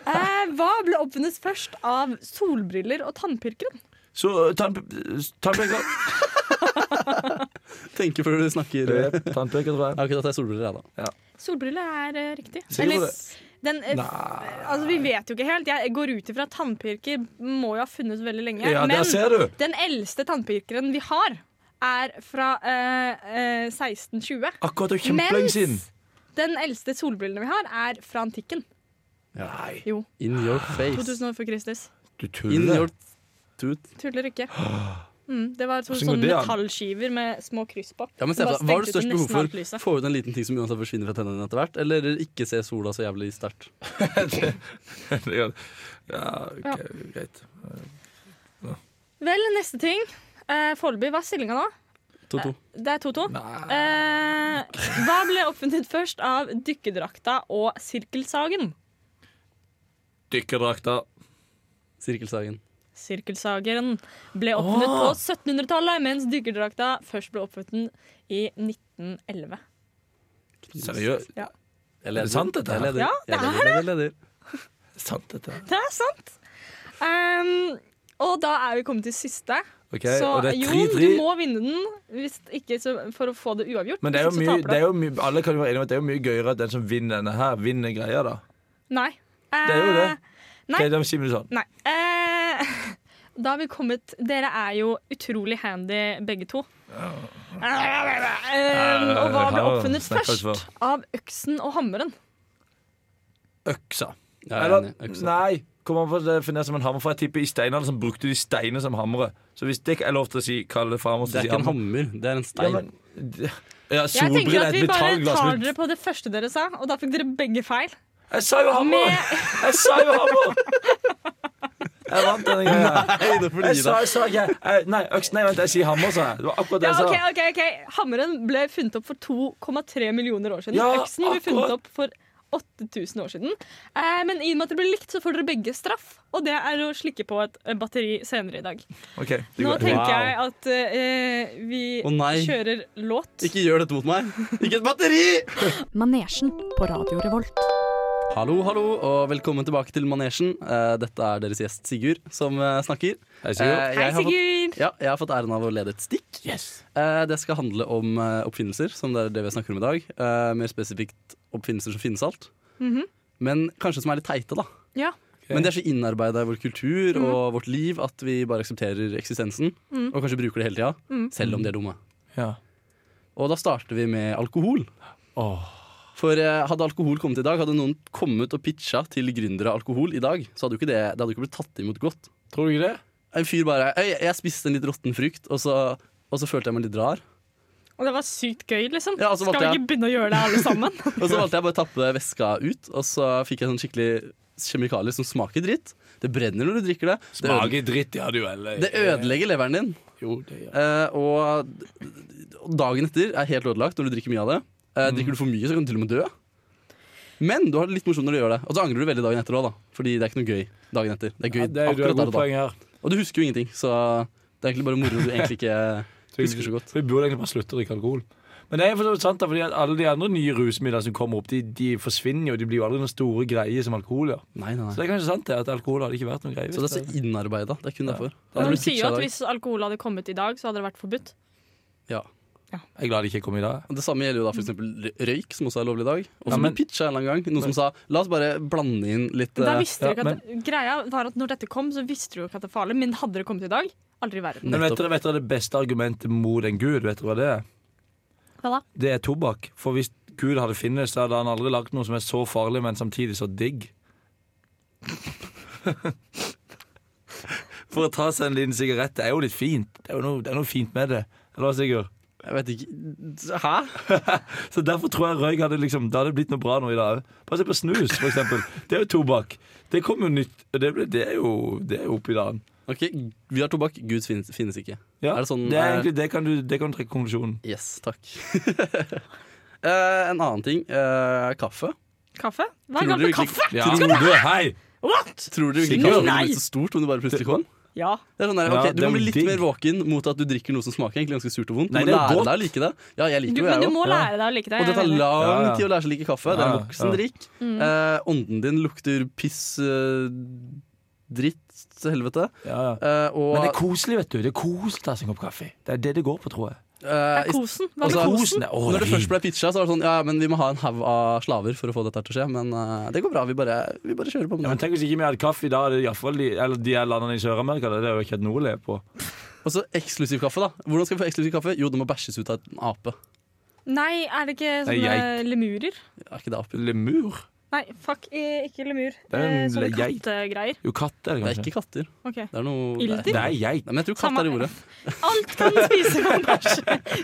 [SPEAKER 1] Eh, hva ble oppfunnet først av solbriller og tannpirkeren?
[SPEAKER 7] Så eh, tannpe-
[SPEAKER 6] *laughs*
[SPEAKER 7] tannpeker
[SPEAKER 6] Tenker før du snakker.
[SPEAKER 7] Det
[SPEAKER 6] Jeg
[SPEAKER 7] er Tannpeker tror jeg
[SPEAKER 6] har ikke tatt deg solbriller, jeg, da.
[SPEAKER 1] Solbriller er eh, riktig.
[SPEAKER 7] Sikker på
[SPEAKER 1] den, eh, altså, vi vet jo ikke helt. Jeg går ut ifra at tannpirker må jo ha funnes veldig lenge.
[SPEAKER 7] Ja,
[SPEAKER 1] men
[SPEAKER 7] der ser du
[SPEAKER 1] Den eldste tannpirkeren vi har, er fra eh, eh, 1620.
[SPEAKER 7] Akkurat det er kjempelenge
[SPEAKER 1] Mens-
[SPEAKER 7] siden
[SPEAKER 1] Den eldste solbrillene vi har, er fra antikken.
[SPEAKER 7] Nei,
[SPEAKER 1] Jo,
[SPEAKER 6] In your face.
[SPEAKER 1] 2000 år før Kristus.
[SPEAKER 7] du
[SPEAKER 6] In
[SPEAKER 7] tuller
[SPEAKER 6] your tooth.
[SPEAKER 7] *gasps*
[SPEAKER 1] Tuller ikke. Mm, det var to
[SPEAKER 7] Hvordan går
[SPEAKER 1] sånne
[SPEAKER 7] det an?
[SPEAKER 1] metallskiver med små kryss på.
[SPEAKER 6] Ja, men se
[SPEAKER 1] Bare
[SPEAKER 6] for deg, Hva har du
[SPEAKER 1] stengte ut
[SPEAKER 6] størst behov
[SPEAKER 1] nesten alt lyset.
[SPEAKER 6] for? Få ut en liten ting som uansett forsvinner fra tennene etter hvert, eller ikke se sola så jævlig sterkt?
[SPEAKER 7] Det gjør- *laughs* ja, ok,
[SPEAKER 1] Ja.
[SPEAKER 7] greit.
[SPEAKER 1] Vel, neste ting. Eh, Foreløpig, hva er stillinga nå?
[SPEAKER 6] 2-2.
[SPEAKER 1] Det er 2-2.
[SPEAKER 7] Nei.
[SPEAKER 1] Eh, hva ble oppfunnet først av dykkerdrakta og sirkelsagen?
[SPEAKER 7] Dykkerdrakter.
[SPEAKER 6] Sirkelsagen.
[SPEAKER 1] Sirkelsageren ble oppfunnet på 1700-tallet, mens dykkerdrakta først ble oppfunnet i 1911.
[SPEAKER 7] Seriøst?
[SPEAKER 6] Jeg
[SPEAKER 7] Er det sant, dette her?
[SPEAKER 6] Jeg leder.
[SPEAKER 1] Ja, det
[SPEAKER 6] Jeg leder, jeg leder.
[SPEAKER 7] Sant, dette. her.
[SPEAKER 1] Det er sant! Ehm, og da er vi kommet til siste.
[SPEAKER 7] Ok,
[SPEAKER 1] så
[SPEAKER 7] og det er
[SPEAKER 1] Jon, du
[SPEAKER 7] 3-3.
[SPEAKER 1] må vinne den hvis ikke så, for å få det uavgjort.
[SPEAKER 7] Men det er, jo
[SPEAKER 1] Hvis ikke så
[SPEAKER 7] mye,
[SPEAKER 1] taper du.
[SPEAKER 7] det er jo mye Alle kan jo være enige om at det er jo mye gøyere at den som vinner denne her, vinner greia, da.
[SPEAKER 1] Nei.
[SPEAKER 7] Det er jo det.
[SPEAKER 1] Nei.
[SPEAKER 7] Ok, da sier vi det sånn.
[SPEAKER 1] Nei. Eh, *laughs* da har vi kommet Dere er jo utrolig handy begge to. Eh, og hva ble oppfunnet
[SPEAKER 7] Snakker oss
[SPEAKER 1] først? Av øksen og hammeren.
[SPEAKER 7] Øksa.
[SPEAKER 6] Ja, jeg er
[SPEAKER 7] Eller,
[SPEAKER 6] enig. Øksa.
[SPEAKER 7] nei, kommer man på å definere som en hammer, for jeg tipper i steinalderen som brukte de steiner som hammere. Så hvis det ikke er lov til å si, kalle det for hammer,
[SPEAKER 6] Det
[SPEAKER 7] så
[SPEAKER 6] er
[SPEAKER 7] si
[SPEAKER 6] ikke en
[SPEAKER 7] hammer.
[SPEAKER 6] hammer, det er en
[SPEAKER 7] Ja,
[SPEAKER 6] stein.
[SPEAKER 7] men- *laughs* ja,
[SPEAKER 1] Jeg
[SPEAKER 7] solbriller
[SPEAKER 1] tenker
[SPEAKER 7] er
[SPEAKER 1] at
[SPEAKER 7] et
[SPEAKER 1] vi bare
[SPEAKER 7] metallglass.
[SPEAKER 1] tar
[SPEAKER 7] men-
[SPEAKER 1] dere på det første dere sa, og da fikk dere begge feil.
[SPEAKER 7] Jeg sa jo hammer!
[SPEAKER 1] Med,
[SPEAKER 7] Jeg sa jo hammer! Jeg vant denne greia.
[SPEAKER 6] Nei, det får du
[SPEAKER 7] Jeg
[SPEAKER 6] gi
[SPEAKER 7] sa,
[SPEAKER 6] deg.
[SPEAKER 7] jeg sa ikke jeg- Nei, øks, nei, vent, jeg sier hammer, sa jeg. Det var akkurat det
[SPEAKER 1] ja,
[SPEAKER 7] jeg sa.
[SPEAKER 1] ok, ok, ok Hammeren ble funnet opp for 2,3 millioner år siden.
[SPEAKER 7] Ja,
[SPEAKER 1] Øksen ble
[SPEAKER 7] akkurat.
[SPEAKER 1] funnet opp for 8000 år siden. Eh, men i og med at det ble likt, så får dere begge straff. Og det er å slikke på et eh, batteri senere i dag.
[SPEAKER 7] Ok, det
[SPEAKER 1] Nå
[SPEAKER 7] går-
[SPEAKER 1] tenker
[SPEAKER 6] Wow.
[SPEAKER 1] jeg at eh, vi
[SPEAKER 6] Å nei.
[SPEAKER 1] kjører låt.
[SPEAKER 6] Ikke gjør dette mot meg. Ikke et batteri!
[SPEAKER 8] Manesjen på Radio Revolt.
[SPEAKER 6] Hallo, hallo, og velkommen tilbake til Manesjen. Eh, Dette er deres gjest Sigurd som eh, snakker.
[SPEAKER 7] Hei, Sigurd.
[SPEAKER 6] Eh, jeg
[SPEAKER 1] Hei,
[SPEAKER 6] har fått-
[SPEAKER 1] Sigurd!
[SPEAKER 6] Ja, jeg har fått æren av å lede et stikk. Eh, det skal handle om eh, oppfinnelser, som det er det vi snakker om i dag. Eh, mer spesifikt oppfinnelser som finnes alt. Men kanskje som er litt teite, da.
[SPEAKER 1] Ja.
[SPEAKER 6] Men det er så innarbeida i vår kultur og vårt liv at vi bare aksepterer eksistensen. Og kanskje bruker det hele tida, selv om de er dumme.
[SPEAKER 7] Ja.
[SPEAKER 6] Og da starter vi med alkohol.
[SPEAKER 7] Åh.
[SPEAKER 6] For eh, hadde alkohol kommet i dag, hadde noen kommet og pitcha til gründere alkohol i dag, så hadde jo ikke det, det hadde jo ikke blitt tatt imot godt.
[SPEAKER 7] Tror du ikke det?
[SPEAKER 6] En fyr bare «Øy, Jeg spiste en litt råtten frukt, og så, og så følte jeg meg litt rar.
[SPEAKER 1] Og det var sykt gøy, liksom.
[SPEAKER 6] Ja, altså,
[SPEAKER 1] Skal vi
[SPEAKER 6] måtte jeg-
[SPEAKER 1] ikke begynne å gjøre det, alle
[SPEAKER 6] *laughs*
[SPEAKER 1] sammen?
[SPEAKER 6] Og så valgte jeg bare å tappe væska ut, og så fikk jeg sånn skikkelig kjemikalier som smaker dritt. Det brenner når du drikker det. Det, øde
[SPEAKER 7] Smaker dritt, ja, du eller?
[SPEAKER 6] det ødelegger leveren din.
[SPEAKER 7] Jo, det gjør
[SPEAKER 6] Eh, og d- og dagen etter er helt ødelagt når du drikker mye av det. Eh, drikker du for mye, så kan du til og med dø. Men du har det litt morsomt når du gjør det, og så angrer du veldig dagen etter òg, da. Fordi det er ikke noe gøy dagen etter. Det er gøy
[SPEAKER 7] Ja, det er, du har
[SPEAKER 6] akkurat der
[SPEAKER 7] gode
[SPEAKER 6] og da.
[SPEAKER 7] poeng her.
[SPEAKER 6] Og du husker jo ingenting, så det er egentlig bare moro du egentlig ikke
[SPEAKER 7] *laughs*
[SPEAKER 6] husker så godt.
[SPEAKER 7] Vi burde egentlig bare slutte å drikke alkohol. Men det er for så vidt sant, da, fordi at alle de andre nye rusmidlene som kommer opp, de, de forsvinner jo. De blir jo aldri noen store greier som alkohol gjør.
[SPEAKER 6] Nei,
[SPEAKER 7] Så
[SPEAKER 6] nei, nei.
[SPEAKER 7] det er kanskje sant det, at alkohol hadde ikke vært noen greie. hvis
[SPEAKER 6] Så det er så innarbeida. Det er kun derfor. Hadde
[SPEAKER 1] De
[SPEAKER 6] blitt
[SPEAKER 1] sier jo at
[SPEAKER 6] pitchet i dag.
[SPEAKER 1] hvis alkohol hadde kommet i dag, så hadde det vært forbudt.
[SPEAKER 6] Ja.
[SPEAKER 7] Jeg er glad det ikke kom i dag.
[SPEAKER 6] Og Det samme gjelder jo
[SPEAKER 1] Mm.
[SPEAKER 6] da for eksempel røyk, som også er lovlig i dag.
[SPEAKER 7] Ja,
[SPEAKER 6] Og som
[SPEAKER 7] men-
[SPEAKER 6] ble pitcha en eller annen gang. Noen som sa la oss bare blande inn litt
[SPEAKER 1] Da
[SPEAKER 6] eh,
[SPEAKER 1] visste dere
[SPEAKER 7] ja,
[SPEAKER 1] ikke at Greia var at når dette kom, så visste dere jo ikke at det var farlig, men hadde det kommet i dag, aldri i verden.
[SPEAKER 6] Nettopp.
[SPEAKER 7] Men vet dere, vet dere det beste argumentet mot en gud? Vet dere hva det er?
[SPEAKER 1] Hva da?
[SPEAKER 7] Det er tobakk. For hvis Gud hadde funnes, så hadde han aldri lagt noe som er så farlig, men samtidig så digg. *laughs* For å ta seg en liten sigarett, det er jo litt fint. Det er jo noe, det er noe fint med det. Eller hva, Sigurd?
[SPEAKER 6] eh, Jeg vet ikke Hæ?
[SPEAKER 7] Så derfor tror jeg røyk hadde liksom Det hadde blitt noe bra nå i dag Bare se på snus for eksempel Det er jo tobakk Det kommer jo nytt og Det, ble, det er jo det er jo oppi dagen
[SPEAKER 6] Ok, vi har tobakk. Gud finnes, finnes ikke.
[SPEAKER 7] ja,
[SPEAKER 6] Er det sånn,
[SPEAKER 7] er
[SPEAKER 6] eh,
[SPEAKER 7] egentlig det kan, du, det kan du trekke konklusjonen
[SPEAKER 6] Yes, takk. *laughs* Eh, en annen ting. eh, kaffe.
[SPEAKER 1] Kaffe? Hva
[SPEAKER 6] Tror
[SPEAKER 1] er galt
[SPEAKER 6] du
[SPEAKER 1] med
[SPEAKER 6] virkelig-
[SPEAKER 1] kaffe?
[SPEAKER 7] ja. du, Hei
[SPEAKER 1] What?
[SPEAKER 6] Tror du virkelig
[SPEAKER 1] Sikkert.
[SPEAKER 6] kaffen ville
[SPEAKER 1] Nei.
[SPEAKER 6] blitt så stort om du bare plutselig kom?
[SPEAKER 1] Ja.
[SPEAKER 6] Det er sånn der,
[SPEAKER 7] Ja,
[SPEAKER 6] ok,
[SPEAKER 7] det
[SPEAKER 6] Du må
[SPEAKER 7] er
[SPEAKER 6] bli
[SPEAKER 7] jo
[SPEAKER 6] litt
[SPEAKER 7] digg.
[SPEAKER 6] mer våken mot at du drikker noe som smaker egentlig ganske surt og vondt.
[SPEAKER 7] Nei,
[SPEAKER 6] du
[SPEAKER 7] det
[SPEAKER 6] må
[SPEAKER 7] er jo
[SPEAKER 6] lære
[SPEAKER 7] godt.
[SPEAKER 6] deg å like det. Ja, jeg
[SPEAKER 1] Du,
[SPEAKER 6] liker det,
[SPEAKER 1] men du
[SPEAKER 6] jeg òg.
[SPEAKER 1] må lære deg å like det.
[SPEAKER 6] Og det
[SPEAKER 1] jeg er
[SPEAKER 6] tar
[SPEAKER 1] enig. Mm.
[SPEAKER 6] lang
[SPEAKER 7] Ja, ja.
[SPEAKER 6] tid å lære seg å like kaffe. Det er
[SPEAKER 7] Ja,
[SPEAKER 6] en voksen
[SPEAKER 7] ja.
[SPEAKER 6] drikk. Eh, ånden din lukter piss, eh, dritt til helvete.
[SPEAKER 7] ja, ja.
[SPEAKER 6] Eh, og
[SPEAKER 7] Men det er koselig vet du Det er koselig å ta seg en kopp kaffe Det er det det går på tror jeg
[SPEAKER 1] Det
[SPEAKER 6] eh,
[SPEAKER 1] er
[SPEAKER 6] i-
[SPEAKER 1] kosen. Hva med
[SPEAKER 6] Altså,
[SPEAKER 1] kosen?
[SPEAKER 7] Kosen er, å,
[SPEAKER 6] når det
[SPEAKER 7] er
[SPEAKER 6] først ble pitcha, så var det sånn Ja, men vi må ha en haug av slaver for å få dette her til å skje. Men eh, det går bra. Vi bare, vi bare kjører på med
[SPEAKER 7] ja, men
[SPEAKER 6] det.
[SPEAKER 7] tenk hvis ikke vi hadde kaffe i dag er det i hvert fall de, Eller de her landene i Sør-Amerika Det er jo ikke hatt noe å leve på
[SPEAKER 6] Og så eksklusiv kaffe, da. Hvordan skal vi få eksklusiv kaffe? Jo, det må bæsjes ut av en ape.
[SPEAKER 1] Nei, er det ikke
[SPEAKER 7] Nei,
[SPEAKER 1] sånne
[SPEAKER 7] geit.
[SPEAKER 1] lemurer?
[SPEAKER 6] Er ikke det ape?
[SPEAKER 7] Lemur
[SPEAKER 1] Nei, fuck, eh, ikke lemur.
[SPEAKER 7] Det er en
[SPEAKER 1] Eh, Sånne
[SPEAKER 7] geit.
[SPEAKER 1] kattegreier.
[SPEAKER 7] Jo, katt er det
[SPEAKER 6] Det er
[SPEAKER 7] kanskje.
[SPEAKER 6] ikke katter.
[SPEAKER 1] Ok.
[SPEAKER 6] Det er noe det
[SPEAKER 1] Ilter?
[SPEAKER 6] er-
[SPEAKER 7] Nei, geit.
[SPEAKER 6] Nei, men jeg tror katt er i
[SPEAKER 1] Samme-
[SPEAKER 6] ordet.
[SPEAKER 1] Alt kan spise kan bæsje.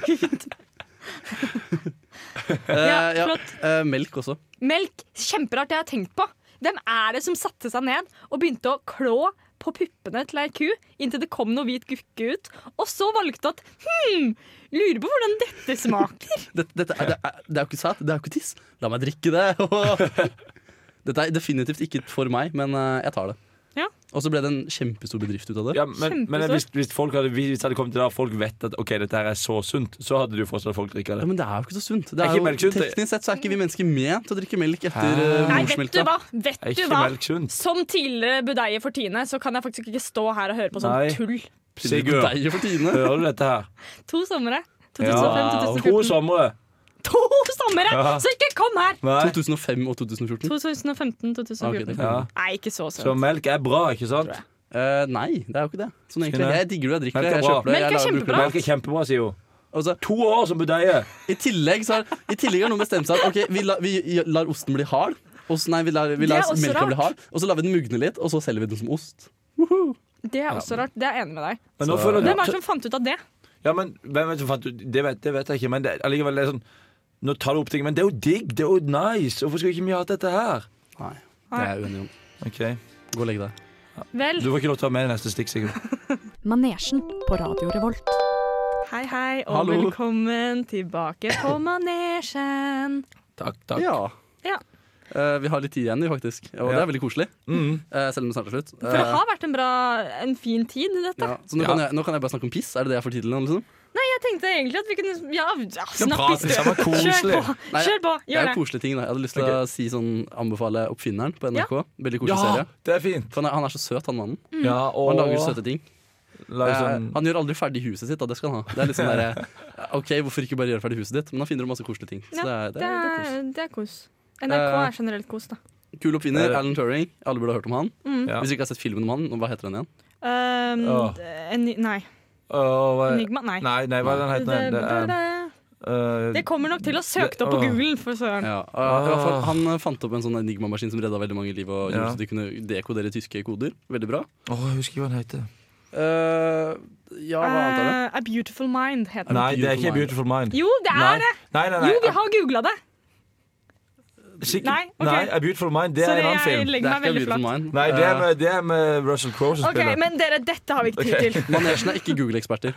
[SPEAKER 1] Ja,
[SPEAKER 6] Eh, ja.
[SPEAKER 1] flott.
[SPEAKER 6] Eh, melk også.
[SPEAKER 2] Melk, kjemperart det jeg har tenkt på. Hvem er det som satte seg ned og begynte å klå på puppene til ei ku inntil det kom noe hvit gukke ut, og så valgte at hm, lurer på hvordan dette smaker.
[SPEAKER 6] Dette, dette er, det, er, det er jo ikke sæd, det er jo ikke tiss. La meg drikke det. *laughs* Dette er definitivt ikke for meg, men eh, jeg tar det.
[SPEAKER 1] Ja.
[SPEAKER 6] Og så ble det en kjempestor bedrift ut av det.
[SPEAKER 7] Ja, men men
[SPEAKER 1] Kjempestor.
[SPEAKER 7] hvis, hvis, folk hadde, hvis det hadde kommet til der folk vet at Ok, dette her er så sunt, så hadde du fortsatt folk drikke
[SPEAKER 6] Ja,
[SPEAKER 7] det.
[SPEAKER 6] men det er jo ikke så sunt. Det
[SPEAKER 7] Er
[SPEAKER 6] er
[SPEAKER 7] ikke
[SPEAKER 6] jo,
[SPEAKER 7] melk sunt?
[SPEAKER 6] teknisk sett så er ikke vi mennesker ment til å drikke melk
[SPEAKER 7] Hæ?
[SPEAKER 6] etter uh,
[SPEAKER 2] Nei, vet du
[SPEAKER 6] morsmelka.
[SPEAKER 2] hva? Vet
[SPEAKER 7] Er
[SPEAKER 2] du
[SPEAKER 7] ikke
[SPEAKER 2] hva?
[SPEAKER 7] melk sunt?
[SPEAKER 2] Som tidligere budeie for tiende, så kan jeg faktisk ikke stå her og høre på sånn
[SPEAKER 7] Nei.
[SPEAKER 2] tull.
[SPEAKER 7] Sigurd,
[SPEAKER 6] Deg for tiende.
[SPEAKER 7] hører du dette her?
[SPEAKER 2] To somre.
[SPEAKER 7] Ja, to
[SPEAKER 2] 2005-2014.
[SPEAKER 7] somre.
[SPEAKER 2] To somre!
[SPEAKER 7] Ja.
[SPEAKER 2] Så ikke kom her!
[SPEAKER 7] Nei.
[SPEAKER 6] 2005 og 2014.
[SPEAKER 1] 2015-2014.
[SPEAKER 6] Ah, ok, det kan-
[SPEAKER 7] Ja.
[SPEAKER 2] Nei, ikke så
[SPEAKER 7] Så
[SPEAKER 2] søtt.
[SPEAKER 7] melk er bra, ikke sant?
[SPEAKER 6] Eh, nei, det er jo ikke det. Sånn egentlig,
[SPEAKER 7] Skjønner.
[SPEAKER 6] Jeg digger det, jeg drikker det,
[SPEAKER 7] Melk er
[SPEAKER 6] jeg
[SPEAKER 7] bra.
[SPEAKER 6] kjøper det.
[SPEAKER 2] Melk er
[SPEAKER 6] jeg lager-
[SPEAKER 2] kjempebra.
[SPEAKER 7] Melk er kjempebra, sier hun.
[SPEAKER 6] Og så,
[SPEAKER 7] To år som budeie.
[SPEAKER 6] I tillegg så har, i tillegg har noen bestemt seg at ok, vi, la, vi lar osten bli hard. Og så- nei, vi lar, vi
[SPEAKER 2] Det er
[SPEAKER 6] lar
[SPEAKER 2] også
[SPEAKER 6] melka
[SPEAKER 2] rart.
[SPEAKER 6] bli hard, og så lar vi den mugne litt, og så selger vi den som ost.
[SPEAKER 1] Det er også rart. Det er jeg enig med deg.
[SPEAKER 7] Men nå føler
[SPEAKER 1] Hvem er det
[SPEAKER 7] du
[SPEAKER 1] som fant ut av det?
[SPEAKER 7] Ja, men hvem vet som fant ut Det vet, det vet jeg ikke, men det, allikevel det er sånn Nå tar du opp ting, men det er jo digg, det er jo nice. Hvorfor skulle ikke vi hatt dette her?
[SPEAKER 6] Nei, det er jeg uenig om.
[SPEAKER 7] Ok,
[SPEAKER 6] Gå og legg deg.
[SPEAKER 1] Vel,
[SPEAKER 7] Du får ikke lov til å ha med deg neste stikk, Sigurd.
[SPEAKER 8] Manesjen på Radio Revolt.
[SPEAKER 1] hei, hei, og
[SPEAKER 6] Hallo.
[SPEAKER 1] velkommen tilbake på manesjen.
[SPEAKER 7] Takk, takk.
[SPEAKER 6] Ja.
[SPEAKER 1] Ja.
[SPEAKER 6] Eh, vi har litt tid igjen, vi, faktisk. Og det
[SPEAKER 7] Ja.
[SPEAKER 6] er veldig koselig.
[SPEAKER 7] Mm.
[SPEAKER 6] eh, selv om det snart er slutt.
[SPEAKER 1] For det
[SPEAKER 6] Eh,
[SPEAKER 1] har vært en bra, en fin tid, dette.
[SPEAKER 6] ja. Så nå, kan jeg, nå kan jeg bare snakke om piss? Er det det jeg får tid til nå? liksom?
[SPEAKER 1] Jeg tenkte egentlig at vi kunne Ja, ja snakk i
[SPEAKER 7] Prat
[SPEAKER 1] stedet.
[SPEAKER 7] sammen, koselig.
[SPEAKER 1] Kjør på!
[SPEAKER 6] Nei,
[SPEAKER 1] Kjør på.
[SPEAKER 6] Det
[SPEAKER 1] Gjør
[SPEAKER 6] er
[SPEAKER 1] det.
[SPEAKER 6] jo koselige ting. da Jeg hadde lyst til å si sånn, anbefale Oppfinneren på NRK. Veldig koselig
[SPEAKER 7] Ja,
[SPEAKER 6] serie.
[SPEAKER 7] det er fint.
[SPEAKER 6] For han er, han er så søt, han mannen.
[SPEAKER 1] Mm.
[SPEAKER 7] Ja, og
[SPEAKER 6] Han lager søte ting.
[SPEAKER 7] lager sånn
[SPEAKER 6] Eh, han gjør aldri ferdig huset sitt, da. Det skal han ha. Det er *laughs* litt sånn der, eh, ok, Hvorfor ikke bare gjøre ferdig huset ditt? Men han finner opp masse koselige ting. Så det er, det
[SPEAKER 1] Det
[SPEAKER 6] er, det
[SPEAKER 1] er, det er kos. NRK
[SPEAKER 6] Eh,
[SPEAKER 1] er generelt kos, da.
[SPEAKER 6] er Kul oppfinner.
[SPEAKER 7] Eh.
[SPEAKER 6] Alan Turing. Alle burde ha hørt om han.
[SPEAKER 1] Mm.
[SPEAKER 7] Ja.
[SPEAKER 6] Hvis dere ikke har sett filmen om han, hva heter den igjen?
[SPEAKER 1] Um,
[SPEAKER 7] Åh.
[SPEAKER 1] en, ny- nei.
[SPEAKER 7] Åh, hva-
[SPEAKER 1] Enigma? Nei.
[SPEAKER 7] Nei, nei, hva er den heter den? Det, er,
[SPEAKER 1] Det
[SPEAKER 7] eh,
[SPEAKER 1] kommer nok til å søke det opp på
[SPEAKER 7] Åh.
[SPEAKER 1] Google, for søren.
[SPEAKER 6] Ja, eh, i hvert fall, han eh, fant opp en sånn enigmamaskin som redda veldig mange liv og gjorde
[SPEAKER 7] Ja.
[SPEAKER 6] så de kunne dekodere tyske koder. Veldig bra.
[SPEAKER 7] Åh, jeg husker hva den heter.
[SPEAKER 6] Eh, ja, hva annet er det?
[SPEAKER 1] Eh, A Beautiful Mind heter den.
[SPEAKER 7] Nei, det er ikke Beautiful Mind.
[SPEAKER 1] Jo, det
[SPEAKER 7] nei.
[SPEAKER 1] er det!
[SPEAKER 7] Nei, nei, nei.
[SPEAKER 1] Jo, vi har googla det!
[SPEAKER 7] Sikkert-
[SPEAKER 1] Nei, ok.
[SPEAKER 7] nei, A Beautiful Mind, det er
[SPEAKER 1] Sorry,
[SPEAKER 7] en annen
[SPEAKER 1] jeg
[SPEAKER 7] film.
[SPEAKER 6] Det
[SPEAKER 1] legger
[SPEAKER 6] er Eh,
[SPEAKER 1] meg
[SPEAKER 6] ikke
[SPEAKER 1] veldig
[SPEAKER 6] Beautiful
[SPEAKER 1] flat.
[SPEAKER 6] Mind.
[SPEAKER 7] Nei, det er med, det er med Russell Crowe som
[SPEAKER 1] OK,
[SPEAKER 7] spiller.
[SPEAKER 1] men dere, dette har vi ikke tid til.
[SPEAKER 6] Manesjen er ikke Google-eksperter.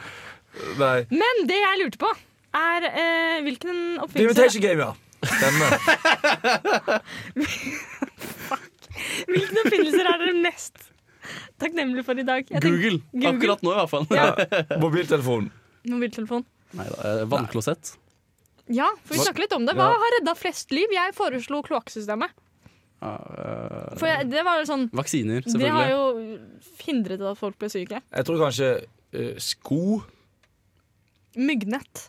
[SPEAKER 7] Nei.
[SPEAKER 1] Men det jeg lurte på, er eh, hvilken
[SPEAKER 7] The
[SPEAKER 1] oppfinnelse,
[SPEAKER 7] Invitation Game, ja. Stemmer.
[SPEAKER 1] hvilken oppfinnelser er dere mest takknemlige for i dag? *laughs* Jeg tenker-
[SPEAKER 6] Google.
[SPEAKER 1] Google.
[SPEAKER 6] Akkurat nå, i hvert fall.
[SPEAKER 7] *laughs* Mobiltelefon.
[SPEAKER 1] Mobiltelefon.
[SPEAKER 6] *laughs* Neida, eh, Vannklosett.
[SPEAKER 1] Ja, for vi snakker litt om det. Hva
[SPEAKER 7] Ja.
[SPEAKER 1] har redda flest liv? Jeg foreslo kloakksystemet.
[SPEAKER 6] Eh,
[SPEAKER 1] For jeg, det var jo sånn
[SPEAKER 6] vaksiner,
[SPEAKER 1] Det har
[SPEAKER 6] selvfølgelig.
[SPEAKER 1] jo hindret at folk ble syke.
[SPEAKER 7] Jeg tror kanskje eh, sko.
[SPEAKER 1] Myggnett.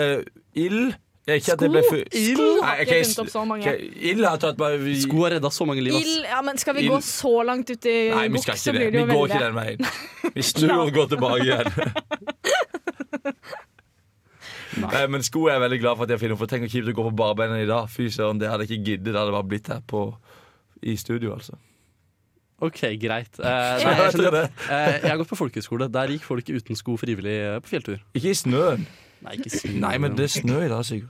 [SPEAKER 7] eh, ild. Eh, Ikke at det
[SPEAKER 1] Sko?
[SPEAKER 7] ble for...
[SPEAKER 1] Ild?
[SPEAKER 7] Nei,
[SPEAKER 1] Har
[SPEAKER 7] ok,
[SPEAKER 1] ikke funnet opp så mange.
[SPEAKER 7] ok, Ild har tatt bare vi...
[SPEAKER 6] Sko har redda så mange liv. ass.
[SPEAKER 1] Ild Ja, men skal vi
[SPEAKER 7] Ild.
[SPEAKER 1] gå så langt ut i
[SPEAKER 7] Nei, vi
[SPEAKER 1] gokk,
[SPEAKER 7] skal
[SPEAKER 1] så
[SPEAKER 7] ikke det.
[SPEAKER 1] blir det
[SPEAKER 7] Vi
[SPEAKER 1] jo
[SPEAKER 7] går
[SPEAKER 1] veldig
[SPEAKER 7] ikke den veien.
[SPEAKER 1] *laughs*
[SPEAKER 7] Vi snur og går tilbake igjen.
[SPEAKER 6] Nei.
[SPEAKER 7] Nei, Eh, men sko er jeg veldig glad for at jeg finner. For tenk hvor kjipt å gå på barbeina i dag. Fy søren, det hadde jeg ikke giddet. Det hadde bare blitt her på i studio, altså.
[SPEAKER 6] Ok, greit. Eh,
[SPEAKER 7] Jeg
[SPEAKER 6] nei, jeg,
[SPEAKER 7] tror
[SPEAKER 6] skjønner.
[SPEAKER 7] det.
[SPEAKER 6] Eh, jeg har gått på folkehøyskole. Der gikk folk uten sko frivillig eh, på fjelltur.
[SPEAKER 7] Ikke i snøen.
[SPEAKER 6] Nei, ikke snø.
[SPEAKER 7] Nei, men det er snø i dag, Sigurd.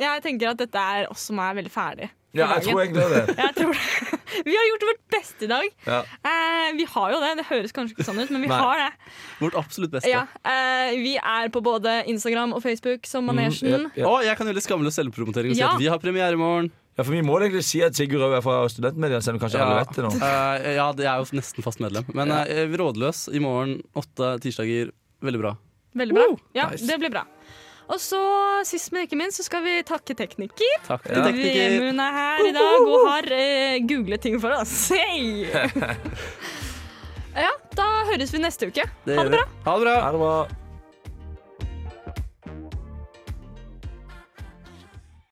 [SPEAKER 1] Jeg tenker at dette er oss som er veldig ferdig.
[SPEAKER 7] Ja, jeg tror egentlig det.
[SPEAKER 1] Jeg tror det. *laughs* Vi har gjort vårt beste i dag.
[SPEAKER 7] Ja.
[SPEAKER 1] Eh, vi har jo det. Det høres kanskje ikke sånn ut, men vi
[SPEAKER 7] Nei.
[SPEAKER 1] har det.
[SPEAKER 6] Vårt absolutt beste.
[SPEAKER 1] Ja, eh, vi er på både Instagram og Facebook som
[SPEAKER 7] Mm,
[SPEAKER 1] Manesjen.
[SPEAKER 7] Ja.
[SPEAKER 6] Å, jeg kan gjøre litt skamløs selvpromotering og si
[SPEAKER 1] Ja.
[SPEAKER 6] at vi har premiere i morgen.
[SPEAKER 7] Ja, for Vi må egentlig si at Sigurd Røe er fra studentmedia, selv om kanskje alle vet det nå.
[SPEAKER 6] Eh, ja, det er jo nesten fast medlem. Men eh, Rådløs i morgen, åtte tirsdager. Veldig bra.
[SPEAKER 1] Veldig bra. Ja,
[SPEAKER 7] nice.
[SPEAKER 1] det blir bra. Og så, sist men ikke minst, så skal vi takke tekniker.
[SPEAKER 6] Takk til
[SPEAKER 7] Ja.
[SPEAKER 6] tekniker.
[SPEAKER 1] Vemund er her i dag og har eh, googlet ting for oss.
[SPEAKER 7] *laughs*
[SPEAKER 1] Hei! ja, da høres vi neste uke.
[SPEAKER 6] gjør
[SPEAKER 1] Ha det
[SPEAKER 6] vi.
[SPEAKER 1] bra.
[SPEAKER 6] Ha det bra.
[SPEAKER 7] Ha det bra.